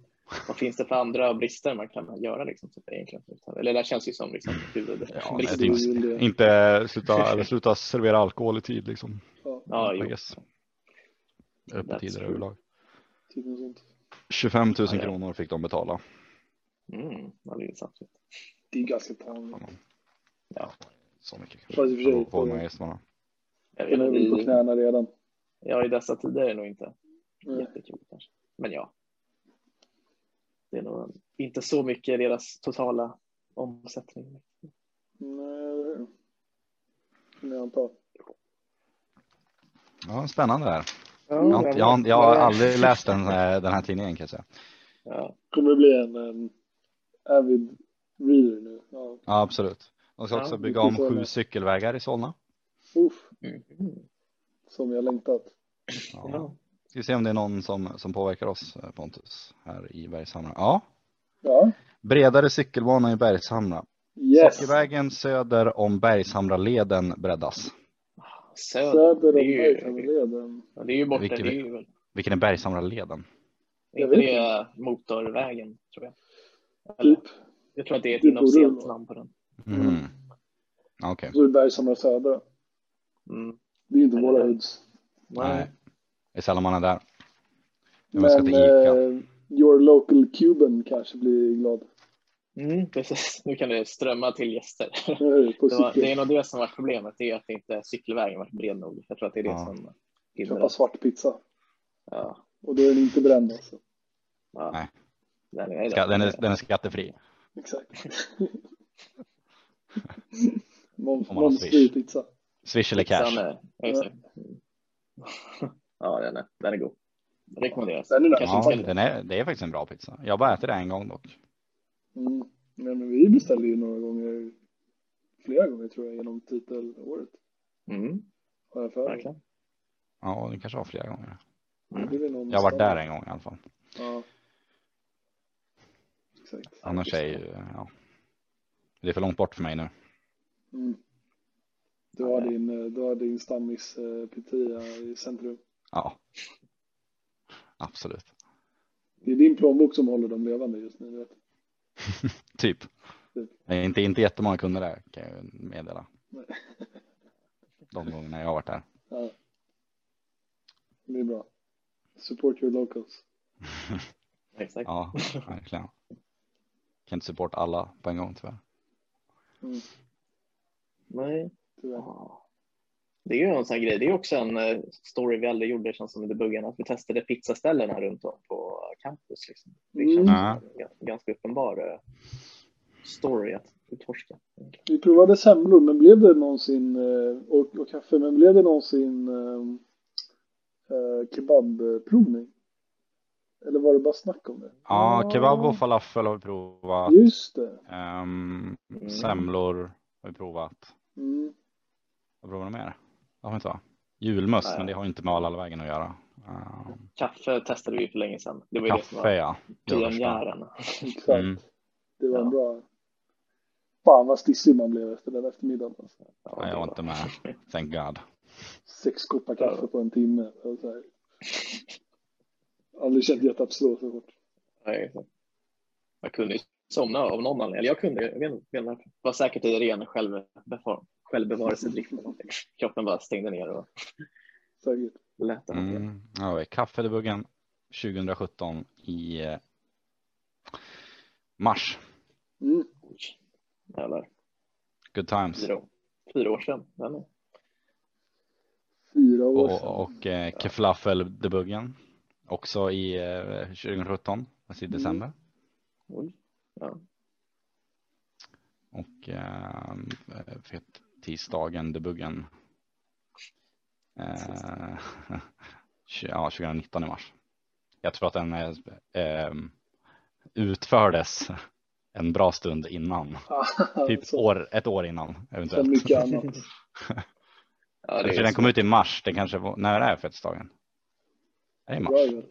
D: Vad finns det för andra brister man kan göra liksom? så att det Egentligen? Eller det här känns ju som liksom
A: Ja,
B: Visst,
A: nej,
D: huvudbristen.
A: det är
B: det är väl det.
A: Inte sluta, eller sluta servera alkohol i tid liksom.
B: Ja,
D: Ja, jo.
A: I guess. Öppettider
D: true.
A: överlag.
B: typ något sånt.
A: 25 000
D: Ja, ja.
A: kronor fick de betala.
D: Mm, ja, det är sant.
B: Det är ganska vanligt.
A: Så mycket kanske.
B: Fast i och för sig,
A: Beror på hur många
B: på-
A: gäster man har.
D: Jag vet
B: Den är
D: inte,
B: väl på
D: i-
B: knäna redan.
D: Ja, i dessa tider är det nog inte
B: Nej.
D: jättekul kanske. Men ja. Det är nog inte så mycket deras totala omsättning.
B: Nej, det är det. Men eh, jag antar.
A: Ja, spännande där. Jag, har inte- jag, har- jag har aldrig läst den, eh, den här tidningen kan jag säga.
D: Ja,
B: Kommer det bli en, en avid reader nu? Ja.
A: Ja, absolut. De ska också
D: Ja,
A: bygga om
B: mycket
A: sju
B: sådana.
A: cykelvägar i Solna.
B: Uff,
D: mm.
B: som jag längtat.
A: Ja.
D: ja.
A: Ska vi se om det är någon som, som påverkar oss eh, Pontus här i Bergshamra. Ja,
B: Ja.
A: bredare cykelbana i Bergshamra.
B: Yes.
A: Sockervägen söder om Bergshamraleden breddas.
D: Söder,
B: Söder om
D: det är ju,
B: Bergshamraleden.
D: ja, det är ju borta.
A: Vilket-
D: Det är ju
A: Vilken är Bergshamraleden?
D: är inte det motorvägen, tror jag. Eller,
B: Typ.
D: jag tror att det är ett
B: Det borde det
D: inofficiellt
B: vara.
D: namn på den.
A: Mm.
B: Mm.
A: Okej. Okay.
B: Så är det Bergshamra södra.
D: Mm.
B: Det är ju inte
D: Nej,
B: våra
D: nej.
B: hoods.
A: Nej.
D: Nej.
A: Det är sällan man är där. När man ska
B: Men
A: till Ica.
B: eh, your local Cuban kanske blir glad.
D: Mm, precis. Nu kan det strömma till gäster.
B: Eh, På
D: Det, var, det
B: cykel.
D: är nog det som var problemet, det är att inte cykelvägen var bred nog. Jag tror att det är det
A: Ja.
D: som
B: Köpa
D: hindrar.
B: svart pizza.
D: Ja.
B: Och då är den inte bränd alltså.
D: Ja.
A: Nej.
D: Nej, nej,
A: Ska, den, är,
D: nej.
A: den är skattefri.
D: [laughs]
B: Exakt.
A: Om man har
B: Momsfri
A: Swish.
B: pizza.
A: Swish eller cash.
D: Sen, eh, exakt. [laughs] ja, den är, den är god. Rekommenderas.
B: Den är nice.
D: Kanske
A: Ja,
D: inte-
A: den är, det är faktiskt en bra pizza. Jag bara äter det en gång dock.
B: Mm. Nej, men vi beställde ju några gånger, flera gånger tror jag, genom titelåret.
D: Mm,
B: Har jag för mig.
D: verkligen.
A: Ja, den kanske har flera gånger.
B: Det är väl någon
A: Jag har varit där
B: standard.
A: en gång i alla fall.
B: Ja. Exakt.
A: Annars är ju, ja. Det är för långt bort för mig nu.
B: Mm. Du, har din, eh, du har din stammis eh, pizzeria i centrum.
A: Ja. Absolut.
B: Det är din plånbok som håller dem levande just nu. du Vet.
A: typ.
B: Typ.
A: Det är inte, inte jättemånga kunder där kan jag ju meddela.
B: Nej.
A: De gångerna jag har varit där.
B: Ja. Det är bra. Support your locals.
D: Exakt.
A: Ja, verkligen. Kan inte supporta alla på en gång tyvärr.
D: Nej.
B: Tyvärr.
D: Ja. Det är ju en sån här grej. Det är också en eh, story vi aldrig gjorde känns som under buggen. Att vi testade pizzaställena runt om på campus. Liksom. Det känns
B: Mm.
D: som en ga- ganska uppenbar eh, story att utforska.
B: Vi provade semlor, men blev det någonsin, eh, och, och kaffe, men blev det någonsin eh, eh, kebabprovning? Eller var det bara snack om det?
A: Ja, kebab och falafel har vi provat.
B: Just det.
A: Ehm,
D: Mm.
A: semlor har vi provat.
B: Mm.
A: Vad provar vi mer? Det har vi inte va? Julmust,
D: Nej.
A: men det har inte med Arlandavägen att göra. Ehm,
D: Kaffe testade vi ju för länge sedan. Det var ju det
A: kaffe
D: som var
A: ja. Det var värsta.
D: pionjären.
B: Exakt.
A: Mm.
B: Det var en
D: Ja.
B: bra... Fan vad stissig man blev efter den eftermiddagen. Alltså.
D: Ja,
A: Nej,
D: det
A: jag var
D: var-
A: inte med. Thank God.
B: Sex koppar kaffe på en timme. Och så här. Aldrig känt hjärtat slå så hårt.
D: [laughs] Nej, exakt. Jag kunde ju somna av någon anledning. Eller jag kunde, jag vet inte. jag vet inte. var säkert i ren självbevar-
A: [laughs]
D: självbevarelsedrift. eller någonting. Kroppen bara stängde ner och
B: Säkert.
D: lät den.
A: Mm. Ja, vi är Kaffedebuggen 2017 i eh, mars.
B: Mm.
D: Oj. Jävlar,
A: Good times.
D: fyra, år- fyra år sedan. Den är-
B: Fyra år sedan.
A: Och, och eh, Keflafel-debuggen också i eh, 2017, alltså i
B: Mm.
A: december.
D: Oj. Ja.
A: och eh, fet tisdagen debuggen. Eh, [laughs] tj- ja, 2019 i mars. Jag tror att den eh, eh, utfördes en bra stund innan,
B: [laughs]
A: typ
B: så,
A: år, ett år innan
B: så
A: eventuellt.
B: mycket annat.
D: Ja, det
A: Eller [laughs] för
D: är
A: den kom ut i mars, den kanske var, när är fettisdagen? Är det i
B: Bra
A: mars?
B: jobbat.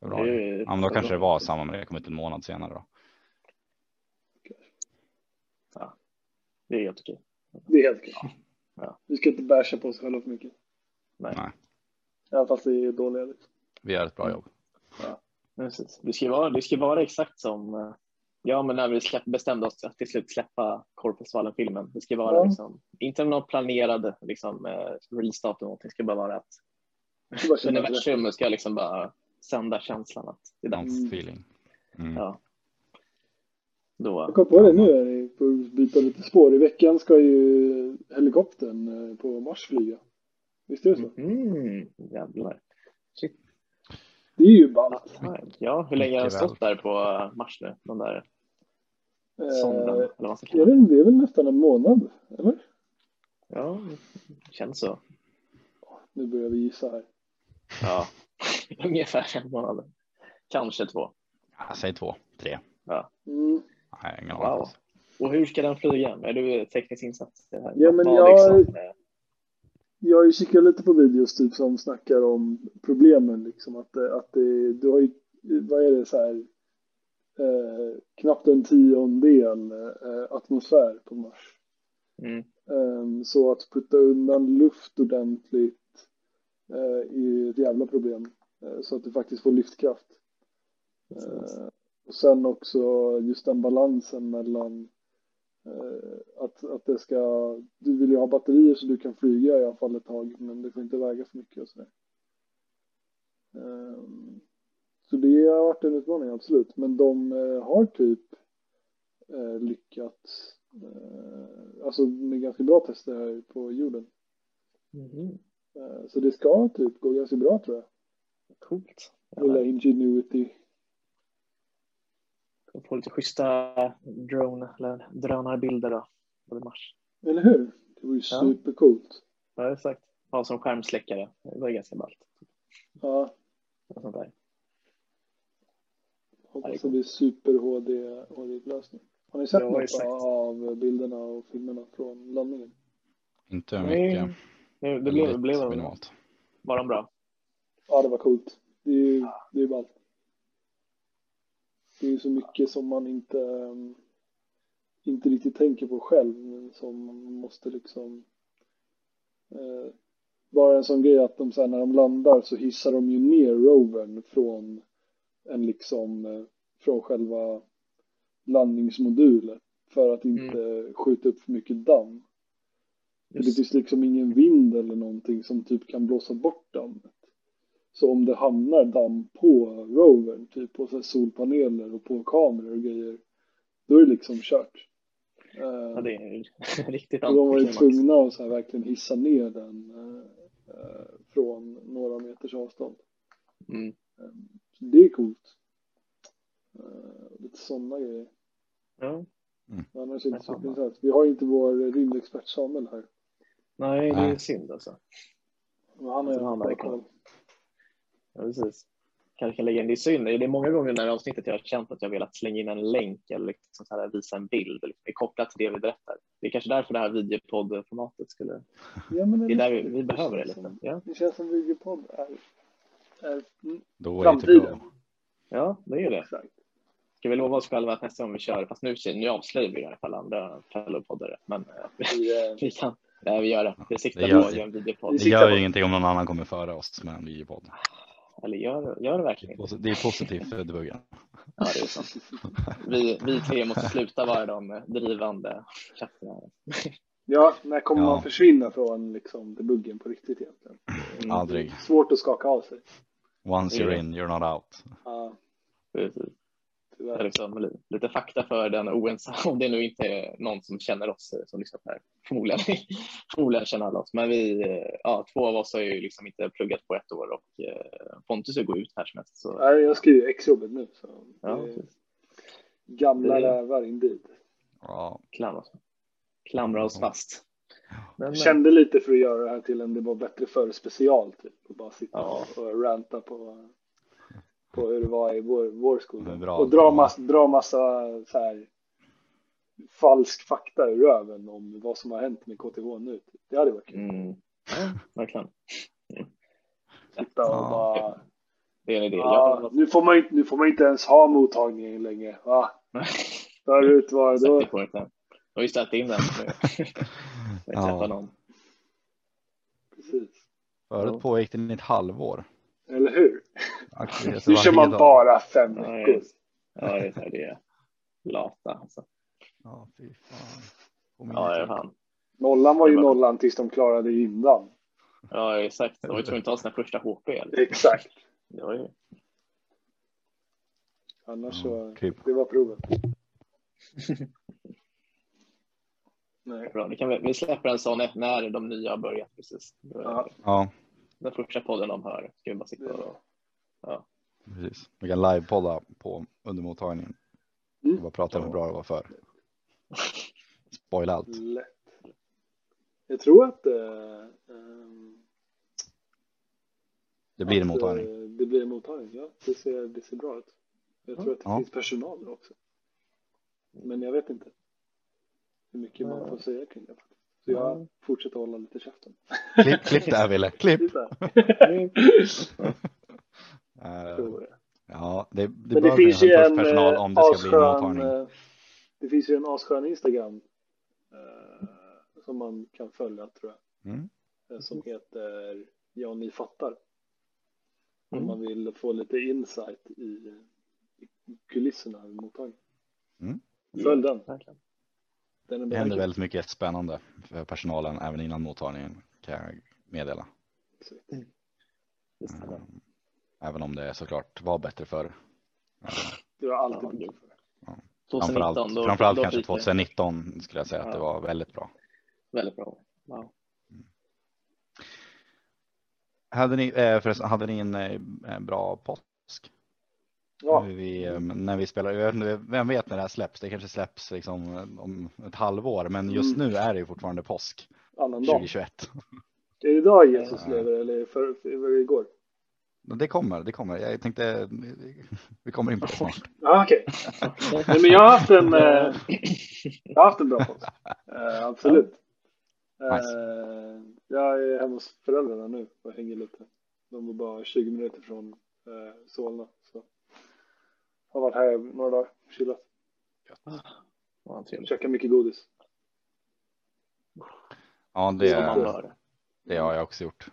A: Februari?
D: ju-
A: Ja, men då kanske det var samma, men det kom ut en månad senare då.
D: Det är helt okej.
B: Det är helt okej.
D: Ja.
B: Vi ska inte basha på oss själva för mycket.
D: Nej.
A: Nej.
B: Även fast vi är dåliga. Liksom.
A: Vi gör ett bra jobb.
D: Precis. Det ska vara, det ska vara exakt som eh, Ja, men när vi släpp, bestämde oss att till slut släppa Korpisvallen-filmen. Det ska vara
B: Ja.
D: liksom, inte någon planerad liksom, eh, release-datum. eller någonting. Det ska bara vara att
B: Vi ska bara känna det.
D: universum ska liksom bara sända känslan att det är dags.
A: Någon feeling. Mm.
D: Ja. Då,
B: Jag kom på det nu, är det på att byta lite spår. I veckan ska ju helikoptern eh, på Mars flyga. Visst är det så?
D: mm, jävlar.
B: Det är ju ballt.
D: Ja, hur länge har den
A: Mycket
D: stått där på eh, Mars nu? Den där sonden,
B: Eh,
D: eller vad man ska
B: jag
D: kalla
B: vet
D: det.
B: inte, det är väl nästan en månad, eller?
D: Ja, det känns så.
B: Nu börjar vi gissa här.
D: Ja, [laughs] ungefär en månad. Kanske två.
A: Ja, säg två, tre.
B: Mm.
A: Nej, ingen
D: Wow.
A: aning.
D: Och hur ska den flyga? Är du tekniskt insatt? i det här?
B: Ja, men
D: Vad
B: jag-
D: liksom, eh,
B: Jag har ju kikat lite på videos typ som snackar om problemen liksom att, det- att det, du har ju, vad är det så här, eh, knappt en tiondel eh, atmosfär på Mars.
D: Mm.
B: Eh, så att putta undan luft ordentligt eh, är ju ett jävla problem. Eh, så att du faktiskt får lyftkraft. Eh, och sen också just den balansen mellan eh, att, att det ska, du vill ju ha batterier så du kan flyga i alla fall ett tag men det får inte väga för mycket och sådär. Eh, så det har varit en utmaning absolut men de eh, har typ eh, lyckats eh, alltså med ganska bra tester här på jorden.
D: Mhm.
B: Eh, så det ska typ gå ganska bra tror jag.
D: Coolt.
B: Lilla Ingenuity.
D: Jag får lite schyssta drone, eller drönarbilder då. Över Mars.
B: Eller hur? Det vore ju
D: Ja.
B: supercoolt.
D: Ja, exakt. Ha som skärmsläckare. Det var ju ganska ballt.
B: Ja,
D: Och sånt där.
B: hoppas det blir super HD HD-upplösning. Har ni sett
D: Liksom. Ja,
B: något
D: exakt.
B: av bilderna och filmerna från landningen?
A: Inte
D: Nej,
A: mycket.
D: Mm. Det, det blev,
A: Lite
D: blev de,
A: minimalt.
D: var de bra?
B: Ja, det var coolt. Det är ju det är ju ballt. Det är ju så mycket som man inte, ehm, inte riktigt tänker på själv, men som man måste liksom... Eh, bara en sån grej att de sen när de landar så hissar de ju ner rovern från en liksom, eh, från själva landningsmoduler för att inte skjuta upp för mycket damm. För Det finns liksom ingen vind eller någonting som typ kan blåsa bort dammet. Så om det hamnar damm på rovern, typ på så här solpaneler och på kameror och grejer, då är det liksom kört. Eh,
D: Ja, det är [laughs] riktigt
B: och de var ju
D: antiklimax.
B: tvungna att så här verkligen hissa ner den eh, eh, från några meters avstånd.
D: Mm.
B: Eh, så det är coolt. Eh, lite sådana grejer.
D: Ja.
B: Annars är det inte så
D: Detsamma.
B: intressant. Vi har ju inte vår rymdexpert Samuel här.
D: Nej, det är
A: Nej.
D: synd alltså.
B: Men han har ju
D: Han
B: haft
D: verkar-
B: bra koll.
D: Ja, precis. Kanske kan lägga in det i synd. Det är många gånger i det här avsnittet jag har känt att jag velat slänga in en länk eller liksom så här visa en bild eller liksom, kopplat till det vi berättar. Det är kanske därför det här videopoddformatet skulle...
B: Ja, men
D: Det är där vi, vi
B: riktigt.
D: behöver det
B: känns
D: lite.
B: som-
D: Ja,
B: Det känns som videopodd är, är mm,
A: Då är det typ-
B: framtiden.
A: bra.
D: ja det är ju det.
B: Exakt.
D: Ska vi lova oss själva att nästa gång vi kör, fast nu, nu avslöjar vi i alla fall andra fellow-poddare, men eh, [laughs]
B: Vi, eh,
D: vi kan. Nej, vi gör det. Vi siktar
A: Det gör
D: på att
A: vi.
D: göra en videopodd.
B: Vi
A: Det
B: siktar
A: gör
B: på-
A: ju ingenting om någon annan kommer före oss med en videopodd.
D: Eller gör, gör det
A: Det är
D: verkligen.
A: posi- Det är positivt för debuggen.
D: Ja, det är sant. Vi, vi tre måste sluta vara de drivande krafterna.
B: ja, när kommer
A: Ja.
B: man försvinna från liksom, debuggen på riktigt egentligen?
D: Mm,
A: Aldrig.
B: Svårt att skaka av sig.
A: Once
D: Det är
A: you're
D: det.
A: in, you're not out.
B: Ja,
D: precis. Det är
B: tyvärr.
D: liksom li- lite fakta för den oense, [laughs] om det nu inte är någon som känner oss eh, som lyssnar på det här. Förmodligen, [laughs] förmodligen känner alla oss, men vi, eh, ja, två av oss har ju liksom inte pluggat på ett år och eh, Pontus går ut här som helst. Så,
B: Nej, jag ska ju exjobbet nu. Så
D: ja,
B: det är
D: precis.
B: gamla
D: Det är-
B: rävar indeed.
A: Ja,
D: klamra, oss- klamra oss fast. Men,
B: Jag
D: eh,
B: kände lite för att göra det här till en det var bättre förr special typ. Och bara sitta
D: Ja.
B: och ranta på, på hur det var i vår, vår
A: Det är
B: skola.
A: bra.
B: Och dra, mass, dra massa så här falsk fakta ur röven om vad som har hänt med KTH nu. Typ. Det hade varit kul.
D: mm, ja, verkligen.
B: Sitta och
A: Ja.
B: bara,
D: Det är en idé.
B: ja,
D: [laughs]
B: nu, får man, ju inte- nu får man inte ens ha mottagningen längre. Va?
D: Jag,
B: Förut var det då.
D: Sätter på den. Jag har ju ställt in den nu. Jag träffar
A: Ja.
D: någon.
B: Precis.
A: förut pågick den i ett halvår.
B: Eller hur?
A: Aktivitet
B: Nu kör
A: varje
B: man
A: dag.
B: bara fem
D: Ja,
B: veckor.
D: just. Ja, det är, så här, det är lata. Alltså.
A: Ja, fy fan.
D: Ja, det är fan.
B: Nollan var ju
D: Det var-
B: nollan tills de klarade innan.
D: Ja, exakt. De var ju tvungna att ta sina första HP. Liksom.
B: Exakt.
D: Det var ju...
B: Annars
A: Ja,
B: så,
A: typ.
B: det
A: [laughs]
B: var proven. Nej.
D: Bra. Det kan vi, vi släpper en sån när de nya har börjat. Precis. Då är det-
B: Ja.
A: Ja,
D: Den första podden de hör ska vi bara
B: det är
D: sitta och...
B: bra.
A: precis. Vi kan livepodda på undermottagningen.
B: Mm.
A: Och bara prata om hur bra det var förr. Spoila allt.
B: Lätt. Jag tror att eh, ehm,
A: Det blir en
B: att,
A: mottagning.
B: eh, Det blir en mottagning, ja. Det ser, det ser bra ut. Jag tror att det
A: Ja.
B: finns personal där också. Men jag vet inte hur mycket man får säga kring det. Så jag fortsätter hålla lite käften.
A: Klipp, klipp där Wille, klipp!
B: Det är så här.
D: Mm,
A: Eh,
B: tror jag.
A: Ja, det, det
B: Men
A: bör
B: det finns
A: finnas
B: ju
A: en
B: en
A: personal
B: eh,
A: om det ska bli en
B: asskön,
A: mottagning.
B: eh, Det finns ju en asskön Instagram eh, som man kan följa tror jag.
A: Mm.
B: Eh, Som heter Ja, ni fattar. Om
D: Mm.
B: man vill få lite insight i, i kulisserna i mottagningen.
A: Mm.
B: Följ den.
D: Verkligen.
B: den är
A: Det händer
B: bra.
A: väldigt mycket spännande för personalen även innan mottagningen kan jag meddela.
D: Just det.
A: Även om det såklart var bättre förr.
B: Du har alltid
D: Ja,
B: bra
D: det-
B: för det.
A: Framförallt,
D: 2019, då,
A: framförallt
D: då
A: kanske
D: fick vi
A: 2019 skulle jag säga att
D: Ja.
A: det var väldigt bra.
D: Väldigt bra. Wow.
A: Hade ni, eh, förresten, hade ni en eh, bra påsk?
B: Ja,
A: Hur Vi, eh, när vi spelar, jag vet inte, vem vet när det här släpps? Det kanske släpps liksom om ett halvår, men just
D: Mm.
A: nu är det ju fortfarande påsk
B: annan dag.
A: 2021.
B: Är det idag Jesus
A: Ja.
B: lever eller är det för, för, var det igår?
A: Men Det kommer, det kommer. Jag tänkte, vi kommer in på det snart.
B: Ja, okej. Nej, men jag har
A: [laughs]
B: haft en, eh, jag har haft en bra påsk. Eh, absolut.
A: Nice.
B: Eh, jag är hemma hos föräldrarna nu och hänger lite. De var bara 20 minuter från eh, Solna. Så. Har varit här några dagar, chillat,
D: Vad trevligt.
B: käkat mycket godis.
A: Ja,
D: Det
A: det,
D: är man bör.
A: det har jag också gjort.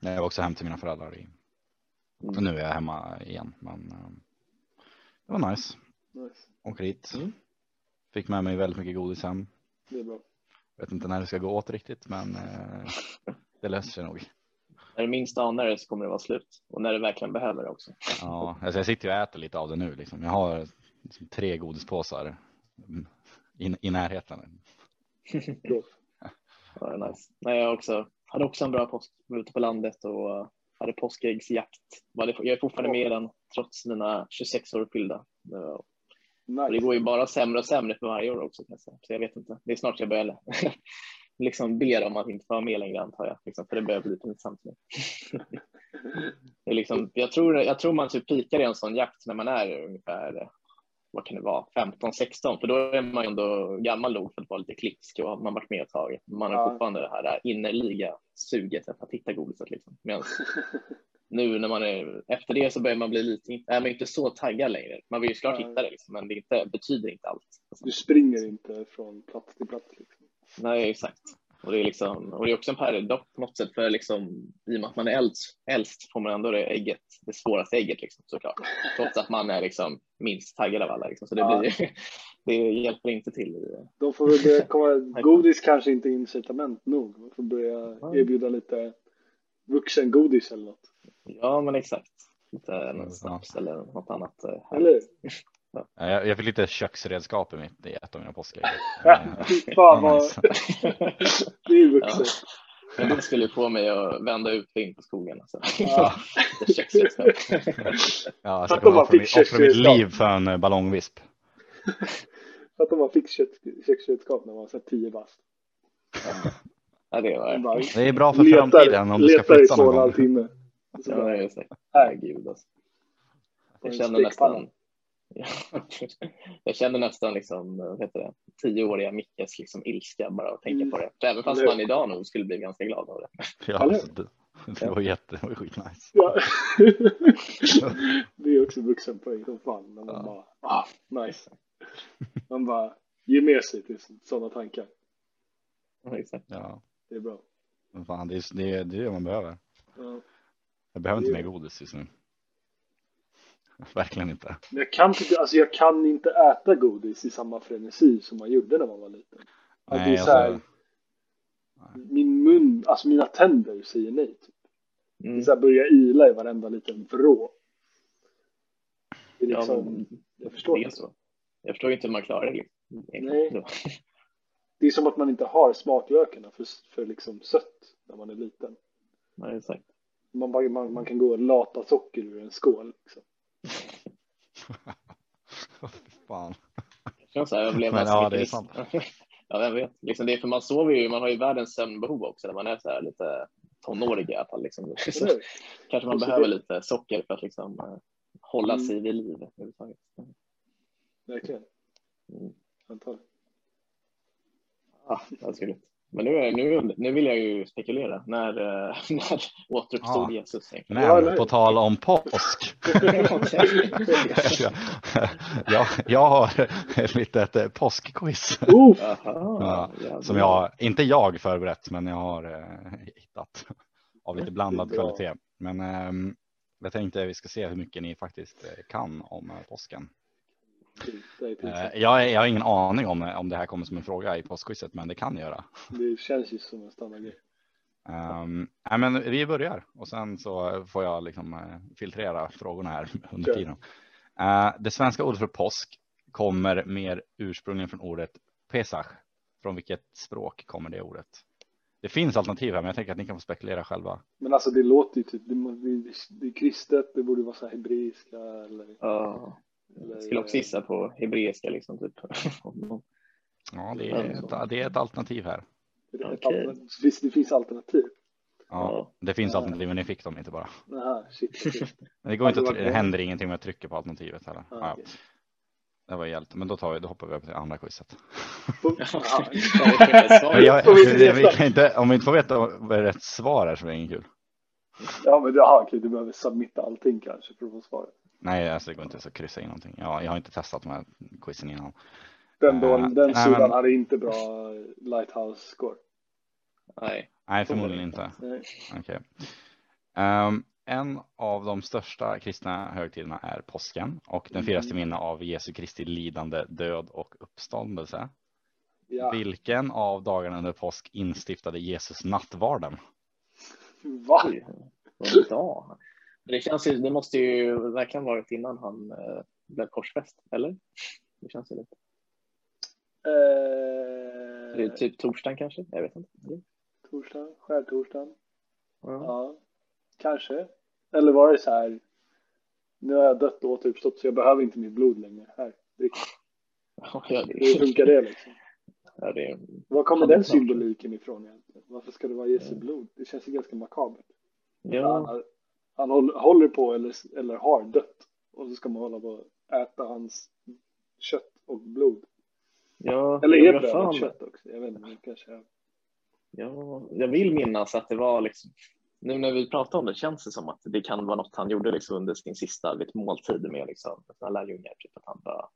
A: Jag var också hem till mina föräldrar. I,
D: Mm.
A: och nu är jag hemma igen, men eh, ehm, det var nice.
B: Nice.
A: Åker hit,
D: Mm.
A: Fick med mig väldigt mycket godis hem.
B: Det är bra.
A: Vet inte när det ska gå åt riktigt, men eh, det löser sig nog.
D: När du minst anar det så kommer det vara slut. Och när du verkligen behöver det också.
A: Ja, alltså jag sitter ju och äter lite av det nu. Liksom. Jag har liksom tre godispåsar mm, i, i närheten.
D: Ja, det är nice. Nej, jag också, hade också en bra påsk. Var ute på landet och eh, hade påskäggsjakt. Var det- Jag är fortfarande med i den trots mina 26 år fyllda. Eh, Och det
B: [laughs] Nice.
D: går ju bara sämre och sämre för varje år också. Kan jag säga. Så jag vet inte. Det är snart jag börjar [laughs] liksom ber om att inte få vara med längre antar jag. Liksom, för det börjar bli pinsamt nu. [laughs] det är liksom, jag, tror, jag tror man typ pikar i en sån jakt när man är ungefär eh, vad kan det vara, 15-16 för då är man ju ändå gammal nog för att vara lite klipsk och man har varit med ett tag. Man har
B: Ja.
D: fortfarande det här innerliga suget efter att hitta godiset. Liksom. Medan nu när man är efter det så börjar man bli lite, nej, man är inte så taggad längre. Man vill ju såklart
B: Nej.
D: hitta det liksom, men det är inte, betyder inte allt.
B: Du springer inte från plats till plats. Liksom.
D: Nej, exakt. Och det är, liksom, och det är också en paradox på något sätt, för liksom, i och med att man är äldst, äldst får man ändå det, ägget, det svåraste ägget liksom, såklart. Trots att man är liksom, minst taggad av alla. Liksom. Så det,
B: Ja.
D: blir, [laughs] det hjälper inte till. I,
B: De får väl börja komma... Godis kanske inte är incitament nog. Man får börja erbjuda lite vuxengodis eller något.
D: ja, men exakt. Inte
A: Ja.
D: en snaps eller något annat. eh, här.
B: Eller hur?
A: Ja, Jag, jag fick lite köksredskap i mitt i ett av mina påskägg.
B: Ja, [laughs] fy fan
A: Ja,
B: vad...
A: nice.
B: Det är ju vuxet.
D: Men [laughs] det skulle få mig att vända ut och in på skogen. Alltså.
B: Ja.
D: [laughs] Det köksredskap.
A: Ja,
B: Fattar
A: så jag kommer
B: man
A: offra, mitt- offra
B: fick
A: mitt
B: köksredskap.
A: liv för en eh, ballongvisp.
B: [laughs] Att de har fick kött- köksredskap när man var så här tio bast.
D: ja,
B: [laughs] Man
D: det var
B: bara
A: Det är bra för framtiden om du ska
B: letar i
A: flytta
B: två och
A: någon
B: en halv
A: gång.
B: timme. Och så
D: Ja,
B: bara,
D: det är så. Herregud alltså. Jag känner nästan... [laughs] Jag känner nästan liksom, vad heter det, tioåriga Mickes liksom ilska bara att tänka
B: Mm.
D: på det. För även fast man idag nog skulle bli ganska glad av det.
A: Ja,
B: Eller?
A: alltså, det, [laughs] det var jätte, det var skitnice. [laughs]
B: Ja. det är också vuxenpoäng som fan. När man
A: Ja.
B: bara, ah, nice. Man bara ger med sig till sådana tankar.
D: Ja, exakt.
A: Ja,
B: Det är bra.
A: men fan, det är det, är- det är det man behöver.
B: Ja.
A: Jag behöver inte mer godis just nu. [laughs] Verkligen inte.
B: Men jag kan, inte, alltså jag kan inte äta godis i samma frenesi som man gjorde när man var liten. Ja, det är
A: alltså,
B: så här, Min mun, alltså mina tänder säger nej. Typ. Det är
D: Mm.
B: så här, börjar ila i varenda liten vrå. Det är
D: Ja,
B: liksom,
D: men
B: jag förstår
D: det är
B: det.
D: så. Jag förstår inte hur man klarar det. Liksom.
B: Nej. Det är som att man inte har smaklökarna för, för liksom sött när man är liten.
D: Nej, exakt.
B: Man, bara, man, man kan gå och lata socker ur en skål. Liksom.
A: Åh, fy fan.
D: Det känns så
A: [laughs]
D: här
A: Men ja, det är
D: överlevnadsmekanism.
A: sant.
D: [laughs] ja, vem vet. Liksom det, är för man sover ju, man har ju världens sömnbehov också när man är så här lite tonårig i alla fall. Liksom. [laughs] Så
B: Eller hur?
D: kanske man
B: Och så
D: behöver
B: det-
D: lite socker för att liksom, eh, hålla
B: Mm.
D: sig vid liv. överhuvudtaget.
B: Verkligen.
D: Mm.
B: Antagligen.
D: Ja, det skulle jag. Men nu, är- nu, nu vill jag ju spekulera. När, eh, [laughs] när
A: Ja.
D: återuppstod
A: [laughs]
D: Jesus? egentligen?
B: Ja, eller
A: Men
B: hur?
A: på tal om påsk.
D: Okej.
A: jag, jag har ett litet eh, påskquiz.
B: Oh,
D: Jaha, jävlar.
A: Som jag, inte jag förberett, men jag har eh, hittat. Av lite blandad
B: Det är bra.
A: kvalitet. Men ehm, jag tänkte vi ska se hur mycket ni faktiskt eh, kan om eh, påsken.
B: det, är typ
A: Eh,
B: pinsamt.
A: jag, jag har ingen aning om, eh, om det här kommer som en fråga i påskquizet, men det kan göra.
B: det känns ju som en standardgrej.
A: Ehm, nej, men vi börjar och sen så får jag liksom eh, filtrera frågorna här [laughs] under
B: Kör.
A: tiden. Eh, det svenska ordet för påsk kommer mer ursprungligen från ordet pesach. Från vilket språk kommer det ordet? Det finns alternativ här, men jag tänker att ni kan få spekulera själva.
B: Men alltså det låter ju typ, det, må- det, det är kristet, det borde vara så här hebreiska eller...
D: Ja.
B: eller
D: Jag skulle också gissa på hebreiska. Liksom, typ. [laughs]
A: Ja, det är
B: Mm.
A: ett, det är ett alternativ här.
B: Det, är ett
D: Okej.
B: alternativ. Så visst, det finns alternativ.
A: Ja,
D: Ja.
A: det finns alternativ, men ni fick dem inte bara.
B: Aha, shit. shit.
A: Men det går inte.
B: det
A: Att,
B: var
A: try- det
B: bra.
A: händer ingenting om jag trycker på alternativet heller.
B: Ja,
A: Ja, ja.
B: okej.
A: Det var hjälpt, men då tar vi. Då hoppar vi över till andra quizet.
D: [laughs]
B: Aha.
A: Men [laughs] jag,
B: Får vi inte
A: det- vi
B: veta?
A: kan inte, om vi inte får veta vad rätt svar är så är det ingen kul.
B: Ja men jaha, okej, du behöver submitta allting kanske för att få svaret.
A: Nej, alltså det går inte att kryssa in någonting. Jag, jag har inte testat de här quizen innan.
B: Den, då,
A: Eh,
B: den
A: nej,
B: sidan
A: men-
B: hade inte bra lighthouse-score.
D: Nej.
A: Nej, förmodligen inte.
B: Nej.
A: Okej. Ehm, en av de största kristna högtiderna är påsken och den firas till
B: Mm.
A: minne av Jesu Kristi lidande, död och uppståndelse.
B: Ja.
A: Vilken av dagarna under påsk instiftade Jesus nattvarden?
B: Va?
D: Oj, vad idag. Det, känns ju, det måste ju verkligen varit innan han eh, blev korsfäst, eller? Det känns ju lite. Det är
B: Eh,
D: typ torsdagen kanske? Jag vet inte.
B: Mm.
D: Eller?
B: torsdagen? Skärtorsdagen?
D: Ja.
B: Ja, kanske. Eller var det så här, nu har jag dött och återuppstått så jag behöver inte mitt blod längre. Här, drick.
D: [laughs] Ja,
B: Hur
D: det,
B: funkar det liksom?
D: ja, det,
B: Var kommer den symboliken ifrån egentligen? Varför ska det vara Jesu blod? Det känns ju ganska makabert. Han,
D: ja,
B: har- han håller, håller på eller, eller har dött och så ska man hålla på och äta hans kött och blod.
D: ja,
B: Eller
D: jag
B: är
D: har
B: det
D: för
B: bröd och
D: mig-
B: kött också? Jag vet inte, det kanske är.
D: Ja, jag vill minnas att det var liksom, nu när vi pratar om det känns det som att det kan vara något han gjorde liksom under sin sista vet, måltid med liksom, sina lärjungar, typ att han bara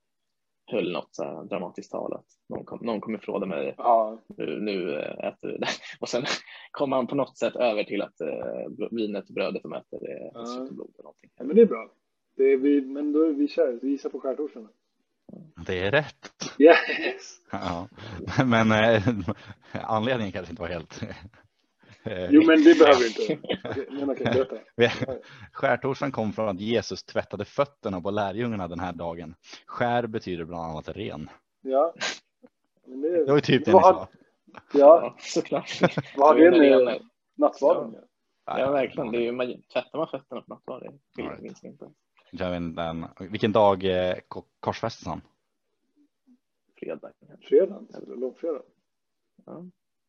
D: höll något så här dramatiskt tal att någon, kom, någon kommer fråga mig,
B: Ja,
D: nu, nu eh, äter vi det. [laughs] Och sen kommer han på något sätt över till att eh, vinet och brödet de äter är
B: Ja.
D: kött och blod eller någonting.
B: ja, men det är bra. Det är vi, men då, vi kör, vi gissar på skärtorsdagen.
A: Det är rätt.
B: Yes!
A: Ja. [laughs] Men eh, [laughs] anledningen kanske inte var helt. eh,
B: Jo, men det behöver vi inte. Okej, Men okej, berätta.
A: Skärtorsdagen kom från att Jesus tvättade fötterna på lärjungarna den här dagen. Skär betyder bland annat ren.
B: Ja. Men det,
A: Det var ju typ det ni
B: Vad
A: sa.
B: Ja,
D: såklart.
B: vad
D: [laughs]
B: har
D: Jo,
B: det
D: men
B: med
D: är-
B: nattvarden ja.
D: Ja, verkligen. Det är ju, man, tvättar man fötterna på nattvarden? Det minns jag inte.
A: Jag vet inte, den- vilken dag eh, ko- korsfästes han?
D: Fredag.
B: Fredagen, eller långfredagen.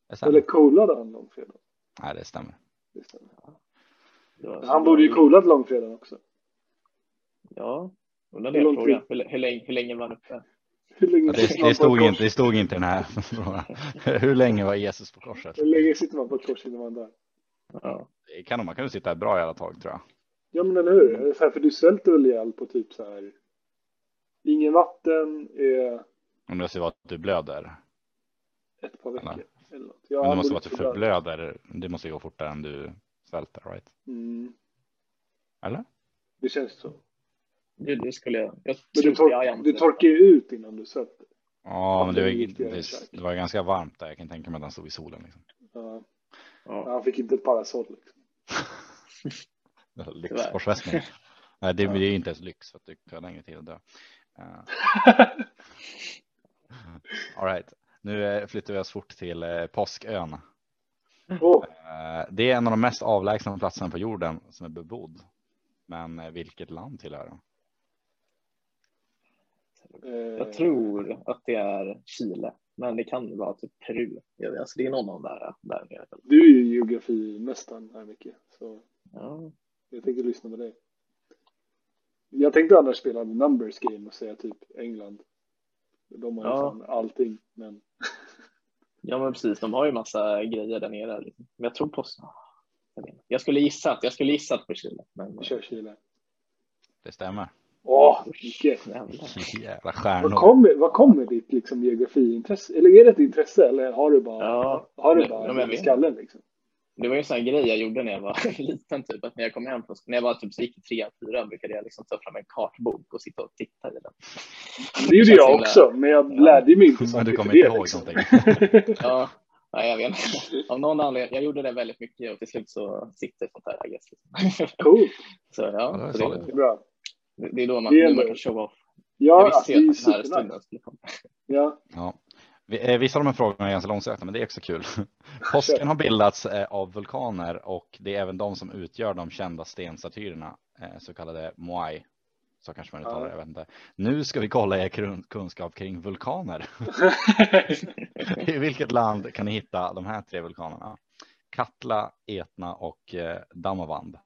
A: Det stämmer.
B: Eller coolade han långfredagen?
A: Nej, det stämmer.
B: Det stämmer.
D: Det var-
B: Han borde ju coolat långfredagen också.
D: Ja, undrar
B: Hur lång
D: det frågan. Hur, hur, länge, hur länge var han uppe?
B: Hur länge
A: Ja, det,
B: sitter man
A: det,
B: på ett
A: stod
B: kors?
A: inte, det stod inte i den här frågan. [laughs] Hur länge var Jesus på korset?
B: Hur länge sitter man på ett kors innan man dör?
D: Ja.
A: Det Kan, man kan ju sitta här bra i alla tag tror jag.
B: Ja, men eller hur? Eller Så här, för du svälter väl ihjäl på typ så här. Ingen vatten eh, är
A: Om det måste vara att du blöder.
B: ett par veckor. Eller något. Ja,
A: Men det
B: han
A: måste
B: borde
A: vara att du
B: coola.
A: förblöder. Det måste gå fortare än du svälter, right?
B: Mm,
A: Eller?
B: det känns så.
D: Det, det skulle jag... jag
B: Men du,
D: trodde jag
B: tor-
D: egentligen-
B: du torkar ju ut innan du svälter.
A: Ja, men det, var ju-
B: det är
A: det, det var ganska varmt där. Jag kan tänka mig att han stod i solen. Liksom.
B: Ja,
D: Ja.
B: han fick inte ett parasoll liksom.
A: Lyxkorsfästning. Nej, det, det är ju inte ens lyx för att du kan längre tid att dö. Eh, [laughs] All right. Nu eh, flyttar vi oss fort till eh, Påskön.
B: Åh,
A: Eh, Det är en av de mest avlägsna platserna på jorden som är bebodd. Men eh, vilket land tillhör den?
B: eh,
D: Jag tror att det är Chile, men det kan vara typ Peru. Jag vet, Alltså det är någon av de där, där nere.
B: Du är ju geografimästaren här Micke, så
D: Ja.
B: jag tänker lyssna på dig. Jag tänkte annars spela The Numbers Game och säga typ England. De har ju
D: Ja.
B: fan allting, men
D: ja, men precis. De har ju massa grejer där nere. liksom. Men jag tror på... Jag, vet inte. jag skulle gissa att jag skulle gissa på Chile, men...
B: vi kör Chile.
A: Det stämmer.
B: Åh, Micke!
D: Jävlar.
A: [laughs] Jävla
B: Vad
A: stjärnor.
B: kommer, vad kommer ditt liksom, geografiintresse? Eller är det ett intresse eller har du bara,
D: Ja,
B: har du
D: men-
B: bara
D: ja, men jag
B: i
D: vet.
B: skallen liksom?
D: Det var ju en sån här grej jag gjorde när jag var [laughs] liten, typ att när jag kom hem från när jag var typ så gick i trean, fyran brukade jag liksom ta fram en kartbok och sitta och titta i den.
B: Det gjorde
D: känns
B: jag
D: himla-
B: också, men jag lärde mig inte så
A: Men [laughs] du
B: mycket
A: kommer
B: för
A: inte
B: det,
A: ihåg
B: liksom.
A: någonting.
B: [laughs]
D: Ja, nej, jag vet inte. Av någon anledning, jag gjorde det väldigt mycket och till slut så sitter sånt där, I guess. liksom.
B: Coolt,
D: [laughs] Så
A: det
D: ja,
A: är
D: så
A: solid.
D: det,
B: bra.
D: det är då man,
B: Det är
D: då man
B: ändå-
D: kan show off. Jag
B: Ja,
D: visste
B: alltså, det
D: ju
B: är
D: att den
B: supernice.
D: här stunden skulle komma.
B: Ja,
D: [laughs]
A: Ja. Vi- eh, Vissa av de här frågorna är ganska långsökta, men det är också kul. [laughs] Påsken har bildats eh, av vulkaner och det är även de som utgör de kända stenstatyerna, eh, så kallade moai. Så kanske man uttalar det, jag vet inte. Nu ska vi kolla er kun- kunskap kring vulkaner. I vilket land kan ni hitta de här tre vulkanerna? Katla, Etna och eh, Damavand.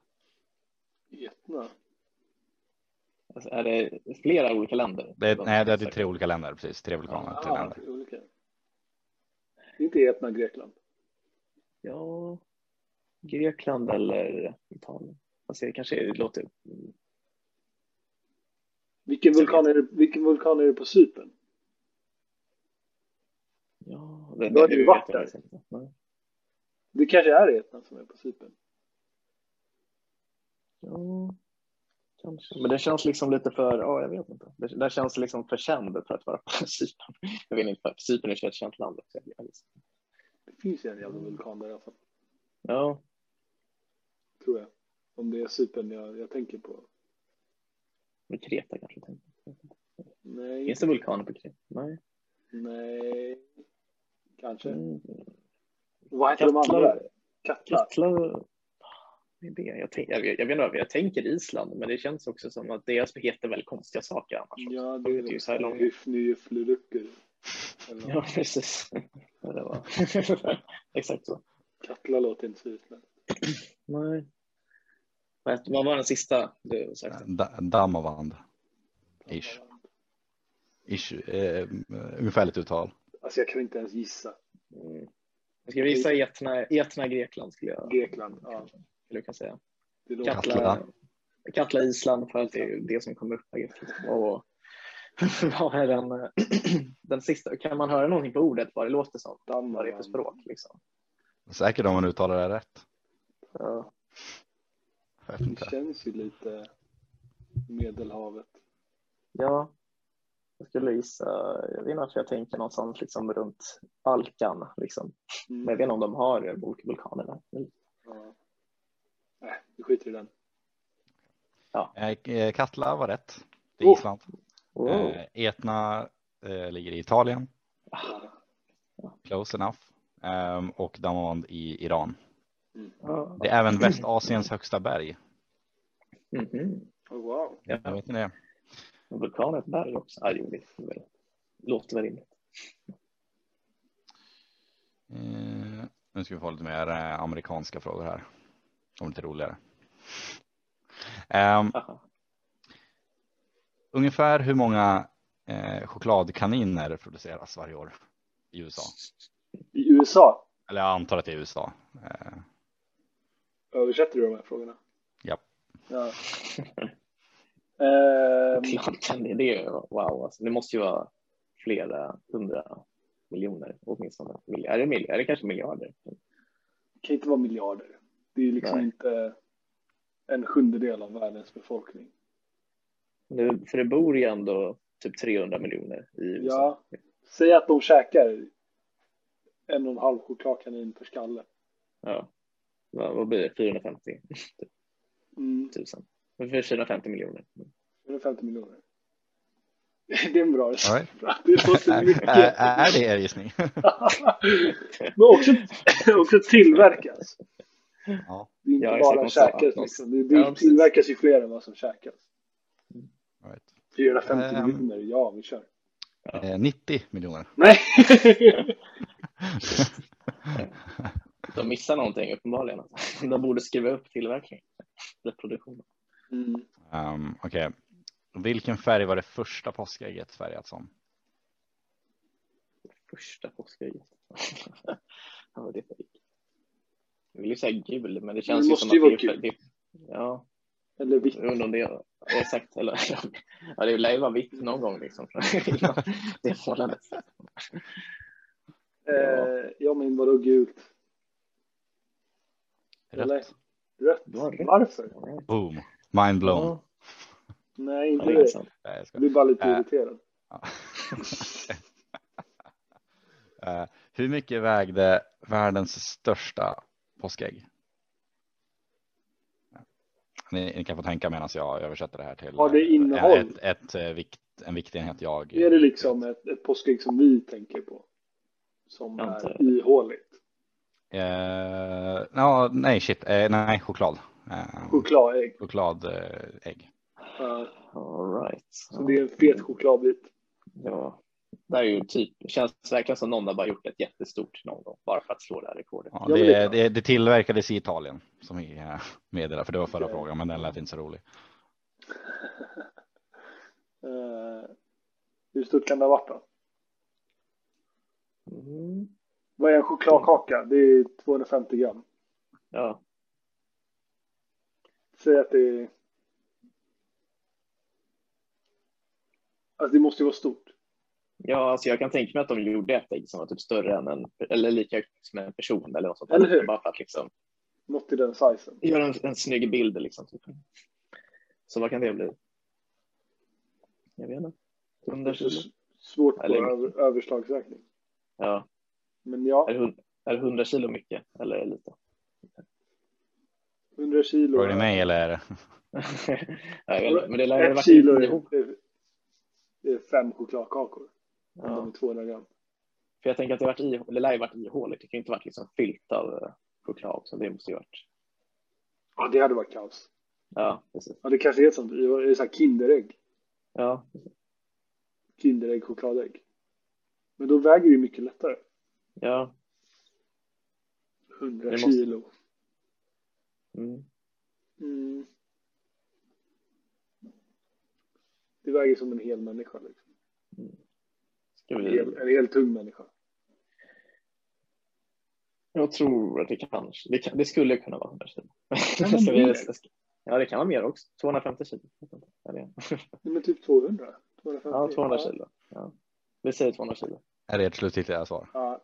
B: Etna.
D: Alltså, är det flera olika länder?
A: Det är, nej, det är tre olika länder, precis. Tre vulkaner, tre
B: Ah,
A: länder.
B: det är olika. Det är inte Etna Grekland.
D: Ja, Grekland eller Italien. Alltså, det kanske är- det låter...
B: Vilken vulkan, är det, vilken vulkan är det på Cypern?
D: Ja, det,
B: Då har du
D: vet
B: varit
D: jag
B: där.
D: faktiskt inte. Nej.
B: Det kanske är Etna som är på Cypern.
D: Ja, kanske. Men det känns liksom lite för, ja jag vet inte. Det, det känns liksom för känd för att vara [laughs] på Cypern. Jag vet inte, för Cypern är ju ett känt land. också.
B: Det finns ju en
D: Mm.
B: jävla vulkan där i alla fall,
D: Ja,
B: tror jag. Om det är Cypern jag, jag tänker på.
D: men Kreta kanske. tänker jag.
B: Nej.
D: Finns det vulkaner på Kreta? Nej.
B: Nej. Kanske.
D: Mm.
B: Vad heter de andra
D: Katla,
B: där? Katla?
D: Katla. Det är det. Jag, tänk, jag, vet- jag, vet inte, jag tänker Island, men det känns också som att deras heter väl konstiga saker annars. också.
B: Ja, det är
D: ju så här långt.
B: det. Hyfnyflurucker.
D: Ja, precis. Ja, det var. [laughs] Exakt så.
B: Katla låter inte så utländskt.
D: Nej. Vad hette- vad var den sista du sökte?
A: Da- Damavand. Ish. Ish. Eh, ungefärligt uttal.
B: Alltså jag kan inte ens gissa.
D: Mm. Jag skulle gissa Etna, Etna Grekland skulle jag,
B: Grekland. Ja,
D: skulle jag kunna säga.
B: det låter.
A: Katla.
D: Katla, Katla Island för att det är ju det som kommer upp. här. Och [laughs] vad är den, [clears throat] eh, den sista? Kan man höra någonting på ordet vad det låter som? Vad det är för
B: Danmark.
D: språk liksom?
A: Säkert om man uttalar det rätt.
D: Ja.
A: Jag vet
B: Det
A: inte.
B: känns ju lite Medelhavet.
D: Ja, jag skulle gissa, jag vet inte varför jag tänker någonstans liksom runt Balkan. Liksom. Men jag
B: Mm.
D: vet inte om de har vul- vulkaner där. Men,
B: Ja. Nej, vi skiter i den.
A: Eh, eh, Katla var rätt. Det
B: Oh.
A: är Island.
D: wow.
A: Eh, Etna eh, ligger i Italien. Close enough. Ehm, och Damavand i Iran.
D: Ja.
A: Det är även Västasiens högsta berg.
D: Mhm.
B: Oh, wow.
A: Jag
D: Ja.
A: vet inte det.
D: Och Vulkaner där också. Ja, jo, det är väl- låter väl rimligt.
A: Eh, nu ska vi få lite mer eh, amerikanska frågor här. De är lite roligare. Ehm,
D: Haha.
A: ungefär hur många eh, chokladkaniner produceras varje år i USA?
B: I USA
A: Eller jag antar att det är USA. Eh,
B: översätter du de här frågorna?
A: Japp.
D: [laughs]
B: Ja. Ehm,
D: Klart kan det. Det är wow. Alltså, det måste ju vara flera hundra miljoner åtminstone. Mil- Är det, mil- är det kanske miljarder?
B: kan inte vara miljarder. Det är liksom
D: Nej.
B: inte en sjundedel av världens befolkning.
D: Nu, för det bor ju ändå typ 300 miljoner i USA.
B: Ja, säg att de käkar en och en halv chokladkanin per skalle.
D: Ja. Vad, vad blir det? 450
B: Mm,
D: 000? För 450 miljoner.
B: 150 miljoner. [laughs] Det är en bra
A: All right.
B: Det låter mycket.
A: [laughs] är, är det er gissning?
B: Men också, också [laughs] tillverkas.
A: Ja.
B: Det är inte
D: Ja, exakt,
B: bara
D: man sa att
B: käkas
D: någon-
B: liksom. Det, det
D: Ja, precis.
B: tillverkas ju fler än vad som käkas.
A: All right.
B: 450
A: Ehm.
B: miljoner, ja vi kör.
A: Eh, 90 miljoner.
B: Nej! [laughs]
D: De missar någonting uppenbarligen. Alltså. [laughs] De borde skriva upp tillverkningen. Eller produktionen.
B: Mm.
A: Ehm, Okej. Vilken färg var det första påskägget färgat som?
D: Första påskägget. [laughs] ja, vad det är fake. Jag vill ju säga gul, men det känns ju
B: måste
D: som
B: ju
D: att
B: vara
D: det är... Det, ja,
B: Eller vitt.
D: Jag undrar om det är exakt. Eller, [laughs] ja, det lär ju vara vitt någon gång liksom. [laughs] Innan det målandet.
B: Eh, ja men vadå gult? Eller?
A: Rätt.
B: Rött?
D: Du har rätt.
B: Varför?
A: Boom. Mind blown.
D: Ja,
B: Nej inte
D: det är
B: det.
D: sant.
A: Nej, jag skojar.
B: Jag blir bara lite
A: Äh.
B: irriterad.
A: [laughs] Eh, hur mycket vägde världens största påskägg? Ni, ni kan få tänka medan jag översätter det här till
B: Har det
A: eh,
B: innehåll?
A: Ett, ett, eh, vikt, en viktenhet jag.
B: Är det liksom ett, ett påskägg som vi tänker på? Som
D: Jag antar
B: är ihåligt?
A: Eh, ja, nej, shit. Eh, nej, choklad. Eh,
B: Chokladägg.
A: Chokladägg.
B: Ja,
D: All right.
B: så det är en fet chokladbit.
D: Ja. Det här är ju typ, känns verkligen som någon har bara gjort ett jättestort någon gång bara för att slå det här rekordet.
A: Ja,
B: Ja, men det är
A: det,
B: klart.
A: det, det tillverkades i Italien som vi eh, meddelar, för det var förra
B: Okej.
A: frågan, men den lät inte så rolig.
B: Eh, hur stort kan det ha varit då?
D: Mm.
B: Vad är en chokladkaka? Det är 250 gram.
D: Ja,
B: Säg att det är... Alltså det måste ju vara stort.
D: ja alltså jag kan tänka mig att de gjorde ett ägg som var typ större än en, eller lika högt som en person eller något sånt.
B: Eller hur?
D: Bara för att liksom
B: Något i den sizen.
D: Gör en, en snygg bild liksom. Typ. Så vad kan det bli? Jag vet inte.
B: Det är
D: 100
B: så
D: kilo?
B: s- svårt på
D: Eller-
B: över, överslagsräkning.
D: Ja.
B: Men ja,
D: Är, hun- är 100 kilo mycket eller lite? [laughs]
B: 100 kilo.
A: Frågar ni mig eller?
D: jag vet inte, men det lär ju ha
B: Ett
D: varit
B: kilo
D: ihop.
B: är, är- är fem chokladkakor. Om de
D: Ja.
B: är 200 gram.
D: För jag tänker att det, varit i, det lär ju varit ihåligt. Det kan ju inte varit liksom fyllt av eh, choklad också. Det måste ju varit.
B: Ja, det hade varit kaos.
D: Ja, precis.
B: Ja, det kanske är ett sånt. Det är så här Kinderägg.
D: Ja,
B: Kinderägg, chokladägg. Men då väger det ju mycket lättare.
D: ja.
B: 100
D: Det måste-
B: kilo.
D: Mm.
B: Mm. Det väger som en hel människa. Liksom.
D: Ska
A: Mm.
B: En,
D: vi...
B: hel, en hel tung människa.
D: Jag tror att det kanske, det, kan, det skulle kunna vara 100 kilo. [laughs]
B: Kan det
D: Ska vi-
B: mer?
D: ska- ja, det kan vara mer också. 250 kilo. Ja, det är-
B: Nej, men typ 200. 250.
D: Ja, 200 kilo. Ja. Vi säger 200 kilo.
A: Är det ert slutgiltiga svar?
B: Ja.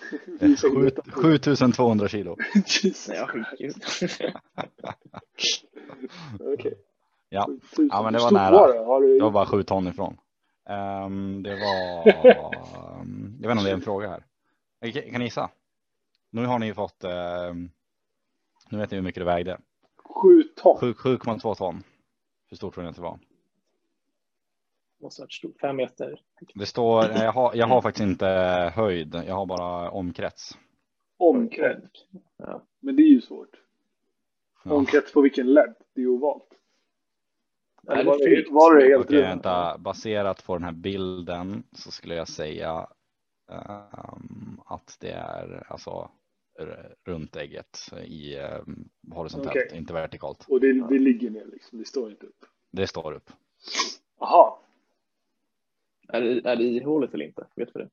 B: [laughs]
A: Det är sju- 7200 kilo.
B: Jesus
D: Nej, jag
B: Christ.
D: sjukt.
B: Okej.
A: Ja.
B: Sju tusen.
A: Ja, men det
B: Hur
A: var
B: stort
A: nära.
B: det? Har du...
A: Det var bara sju ton ifrån. Ehm, det var... Jag vet inte om det är en fråga här. Jag kan- Kan ni gissa? Nu har ni ju fått... ehm, Nu vet ni hur mycket det vägde.
B: Sju ton.
A: Sju- 7,2 ton. Hur stort tror ni att det var?
D: [laughs] Måste ha varit stort. Fem meter.
A: Det står... Jag har, jag har faktiskt inte höjd. Jag har bara omkrets.
B: Omkrets.
D: Ja.
B: Men det är ju svårt.
A: Ja.
B: Omkrets på vilken led? Det är ju ovalt.
D: Eller
B: var,
D: fyllt.
B: det, var det helt
A: Okej,
B: runt?
A: eh, vänta. Baserat på den här bilden så skulle jag säga ehm, att det är alltså r- runt ägget i ehm, horisontellt,
B: Okej.
A: inte vertikalt.
B: Och det, det ligger ner liksom. Det står inte upp.
A: Det står upp.
B: Aha.
D: Är det, är det ihåligt eller inte? Vet vi det?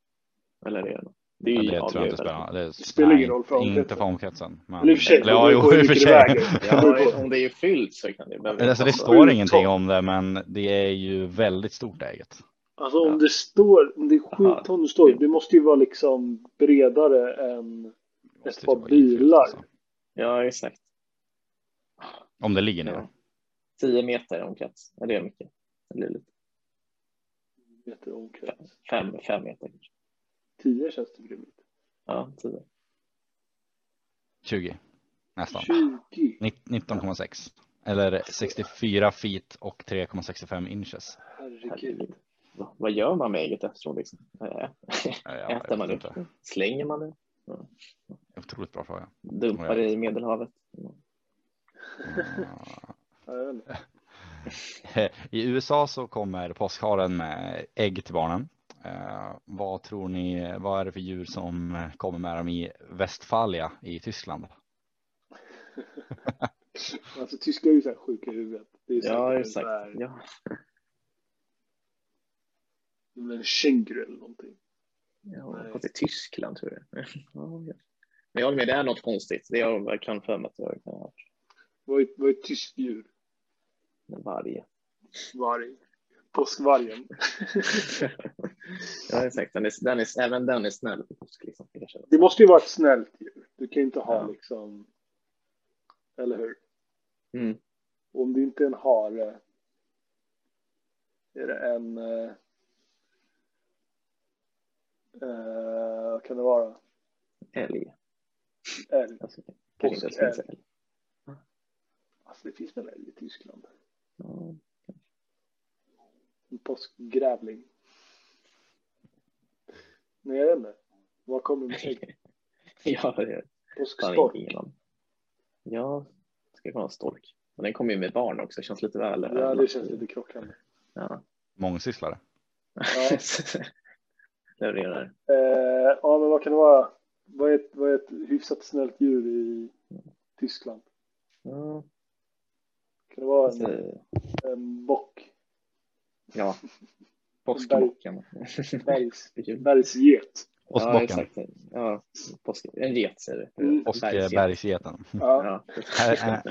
D: Eller är det något? Det är
A: Men
D: ju
A: det tror jag inte
D: avgörande.
A: spelar Det
B: spelar ingen roll för
A: omkretsen. Inte
B: omkretsen.
A: för omkretsen. Men...
B: Eller i och för sig,
A: Eller,
B: det
A: ja,
B: beror på
A: jo, i
B: hur
A: och för sig. [laughs]
B: mycket det väger.
A: Ja.
D: Ja, om det är fyllt så kan det behöver
A: Alltså, det
D: inte
A: står
B: Sju
A: ingenting
B: ton.
A: om det, men det är ju väldigt stort ägget.
B: Alltså om
D: Ja.
B: det står, om det är sju
D: Aha.
B: ton det står, det måste ju vara liksom bredare än ett par bilar.
A: liksom.
D: Ja, exakt.
A: Om det ligger ner.
D: Ja. 10 meter omkrets. Ja, det är mycket. Det blir lite.
B: meter omkrets.
D: Fem, fem meter kanske.
B: Tio känns det grymt.
D: Ja, 10.
A: 20 nästan.
B: 20.
A: Nitt- 19,6 eller 64 feet och 3,65 inches.
B: Herregud.
D: Herregud. Va- Vad gör man med ägget efteråt? Liksom? Äh,
A: Ja, jag
D: Äter
A: vet
D: man
A: inte.
D: det? Slänger man det?
A: Otroligt bra fråga.
D: Dumpar det i Medelhavet?
B: Ja, jag vet inte.
A: Eh, I USA så kommer påskharen med ägg till barnen. Eh, vad tror ni, vad är det för djur som kommer med dem i Westfalia i Tyskland?
B: Alltså tyskar är ju så här sjuka i huvudet. Det är så
D: Ja,
B: här-
D: exakt.
B: så här-
D: Ja.
B: det är väl en känguru eller någonting.
D: Ja,
B: Nej.
D: fast i Tyskland tror jag. [laughs] Ja, ja. Men jag håller med, det är något konstigt. Det har jag verkligen för mig att jag kan ha hört.
B: Vad är, vad är ett tyskt djur?
D: En varg.
B: Varg. Påskvargen.
D: [laughs] ja, exakt. Den är, den är, även den är snäll. Liksom. Kanske.
B: Det måste ju vara ett snällt djur. Du kan ju inte ha
D: Ja.
B: liksom... Eller hur?
D: Mm.
B: Om det inte är en hare. Är det en... eh, eh, vad kan det vara?
D: Älg.
B: Älg.
D: Alltså, kanske inte ens
B: Påskälg.
D: finns älg.
B: Alltså det finns väl älg i Tyskland?
D: Ja. [laughs]
B: En påskgrävling. Nej, jag vet inte. Vad kommer med ägg?
D: ja, det är fan
B: Påskstork?
D: ingen aning. Ja, det ska kunna vara stork. Men den kommer ju med barn också. Känns lite väl.
B: Ja, det känns lite krockande.
D: Ja.
A: Mångsysslare.
D: [laughs]
B: Ja.
D: Levererar.
B: Eh, ja, men vad kan det vara? Vad är, ett, vad är ett hyfsat snällt djur i Tyskland?
D: Ja,
B: Kan det vara
D: fast
B: en,
D: det-
B: en bock? [laughs]
D: ja. påskmockan. [laughs]
B: Bergs, bergsget?
D: Ja,
A: Påskbocken
D: exakt. Ja, påsk, en get säger du.
B: Mm.
A: och
D: Bergsget.
A: bergsgeten.
B: Ja.
D: Ja.
A: Här är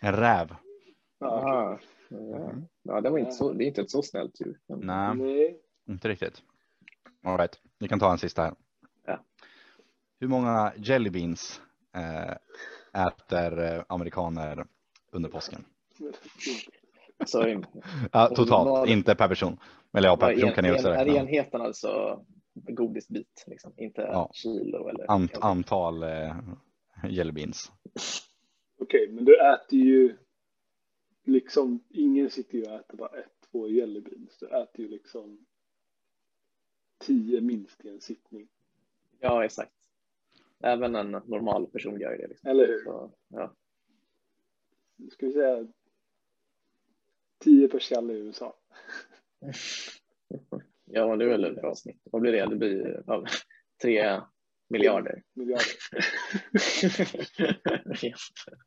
A: En Eh, räv.
B: ja.
D: Ja. Ja. ja, det var inte så, det är inte ett så snällt djur. Men-
A: Nej,
B: Nej.
A: inte riktigt. All right, vi kan ta en sista här.
D: Ja.
A: Hur många jellybeans eh, äter eh, amerikaner under påsken.
D: Så en,
A: Ja,
D: Och
A: totalt,
D: vad-
A: inte per person. Eller ja, per person kan jag
D: en,
A: också
D: är
A: räkna.
D: enheten alltså godisbit, liksom. inte
A: Ja.
D: kilo eller
A: Ant, antal eh, jelly beans.
B: Okej, men du äter ju liksom, ingen sitter ju och äter bara ett, två jelly beans. Du äter ju liksom tio minst i en sittning.
D: Ja, exakt. Även en normal person gör ju det. Liksom.
B: Eller hur?
D: Så, ja.
B: Ska vi säga tio per skalle i USA.
D: ja, men det är väl ett bra snitt. Vad blir det? Det blir ja, [laughs] tre
B: [laughs]
D: miljarder. [laughs]
B: Miljarder.
D: Ja.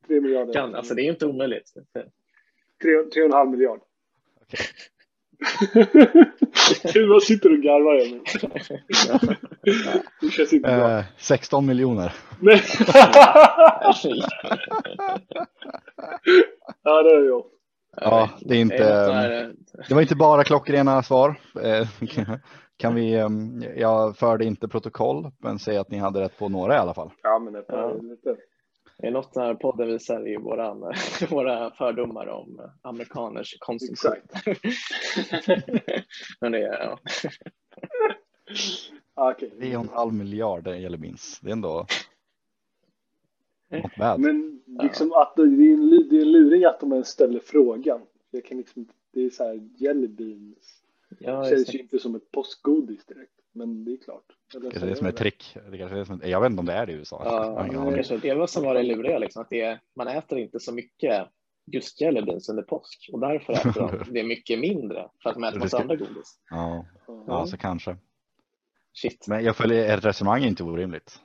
B: Tre miljarder.
D: kan, alltså, det är inte omöjligt.
B: tre, tre och en halv miljard. [laughs]
A: Okej.
B: Du bara sitter och garvar Emil. Det känns inte bra.
A: Eh, 16 miljoner.
B: [laughs] Nej. ja, det är jag.
A: Ja, det är inte- eh,
D: något så här-
A: Det var inte bara klockrena svar. Eh, [laughs] Kan vi, eh, jag förde inte protokoll, men säg att ni hade rätt på några i alla fall.
B: Ja, men det
D: Ja.
B: är lite.
D: Det är något den här podden visar i våran, [laughs] våra fördomar om amerikaners konsumtion.
B: Exakt.
D: [laughs] Men det, är- ja.
B: Ja, okej.
A: 3,5 miljarder jelly beans. Det är ändå not bad.
B: Men liksom att det det är, en, lu- det är en luring att de ens ställer frågan. Jag kan liksom, det är så här jelly beans.
D: Ja,
B: Känns ju inte som ett postgodis direkt. Men det är klart. Eller
A: Det
B: så
A: kanske är det som är ett trick. Det kanske är det som är, jag vet inte om det är det i USA. Jag har
D: Ja,
A: ingen
D: det
A: aning.
D: kanske det var som var det luriga, liksom, att det, är- man äter inte så mycket just jelly beans under påsk och därför äter
A: [laughs]
D: de det mycket mindre för att man äter massa andra godis.
A: Ja,
B: Ja.
A: ja, så kanske.
D: Shit.
A: Men jag följer ett resonemang är inte orimligt.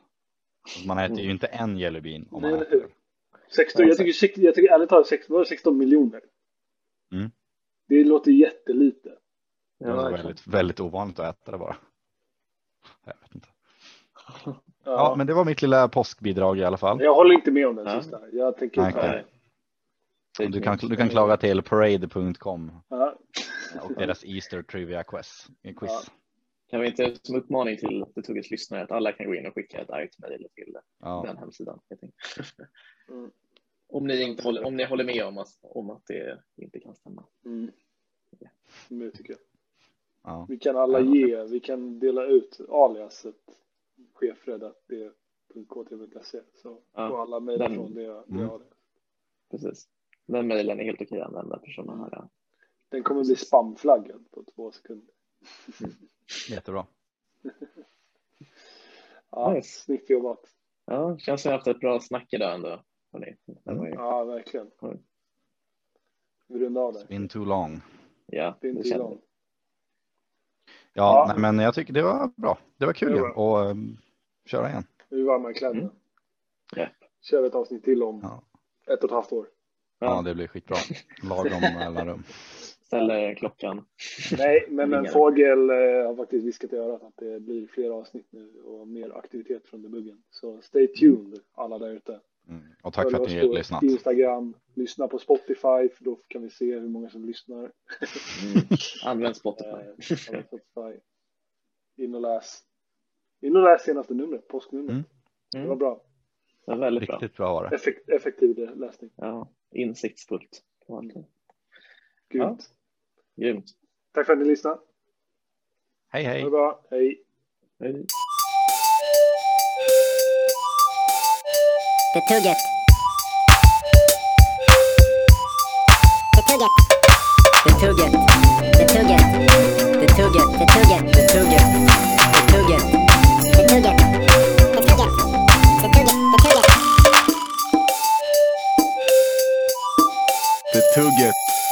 A: Alltså, Man äter ju inte en jelly bean om man
B: Nej,
A: äter.
B: 16, jag, tycker, sex- jag tycker ärligt talat 16, var det 16 miljoner.
A: Mm.
B: Det låter jättelite.
A: Det är väldigt, väldigt ovanligt att äta det bara. Jag vet inte. Ja, men det var mitt lilla påskbidrag i alla fall.
B: Jag håller inte med om den
D: Ja.
B: sista. Jag tänker
A: Nej,
B: ta
A: okej.
B: det.
A: Du kan, du kan klaga till parade.com
B: Ja.
A: och deras Easter Trivia Quiz. quiz.
B: Ja.
D: Kan vi inte som uppmaning till det tog lyssnare att alla kan gå in och skicka ett argt mejl till
A: Ja.
D: den hemsidan. helt enkelt. [laughs]
B: Mm.
D: Om ni, inte håller, om ni håller med om att, om att det inte kan stämma.
B: [laughs] Mm. Men det tycker jag.
A: Ja.
B: Vi kan alla ge, vi kan dela ut aliaset chefredat.ktv.se så
D: Ja.
B: får alla mejla
D: Den-
B: från det, det
A: Mm.
B: aliaset.
D: Precis. Den mejlen är helt okej att använda för sådana här.
B: Den kommer bli spamflaggad på två sekunder.
A: Jättebra.
B: Ja,
D: Nice.
B: Snyggt jobbat.
D: Ja, känns som jag haft ett bra snack idag ändå. hörni. Det var ju-
B: Ja, verkligen.
D: Mm.
B: Vi rundar av där.
A: Been too long.
D: Ja,
B: Det är
D: det
B: inte
D: kändes.
B: långt.
A: Ja,
B: Ja.
A: Nej, men jag tycker det var bra. Det var kul
B: Det
A: ju
B: var
A: och um, köra igen.
B: Vi är varma i kläderna.
D: Mm. Ja.
B: Kör ett avsnitt till om
A: Ja.
B: ett och ett halvt år.
A: Ja,
D: Ja.
A: det blir skitbra. Lagom eh, mellanrum.
D: Ställer klockan.
B: Nej, men en
D: Ringar.
B: fågel eh, har faktiskt viskat i örat att det blir fler avsnitt nu och mer aktivitet från debuggen. Så stay tuned alla där ute.
A: Mm. Och Mm. tack för
B: Följ
A: att ni
B: oss på
A: har lyssnat.
B: Instagram, lyssna på Spotify för då kan vi se hur många som lyssnar.
D: Mm.
B: [laughs]
D: Använd Spotify.
B: Eh, Spotify. In och läs. In och läs senaste numret, påsknumret.
A: Mm.
B: Det var
D: Mm.
B: bra.
D: Det var väldigt bra.
A: Riktigt bra var det.
B: Effekt, effektiv läsning.
D: Ja, insiktsfullt.
B: Mm.
D: Verkligen.
B: Grymt.
D: Grymt.
B: Tack för att ni lyssnade.
A: Hej
B: Ha
A: hej.
B: det bra. Hej.
D: Hej.
C: The Tugget. The Tugget. The Tugget. The Tugget. The Tugget. The Tugget. The Tugget. The Tugget. The Tugget. The Tugget. The Tugget. The Tugget.
A: The Tugget.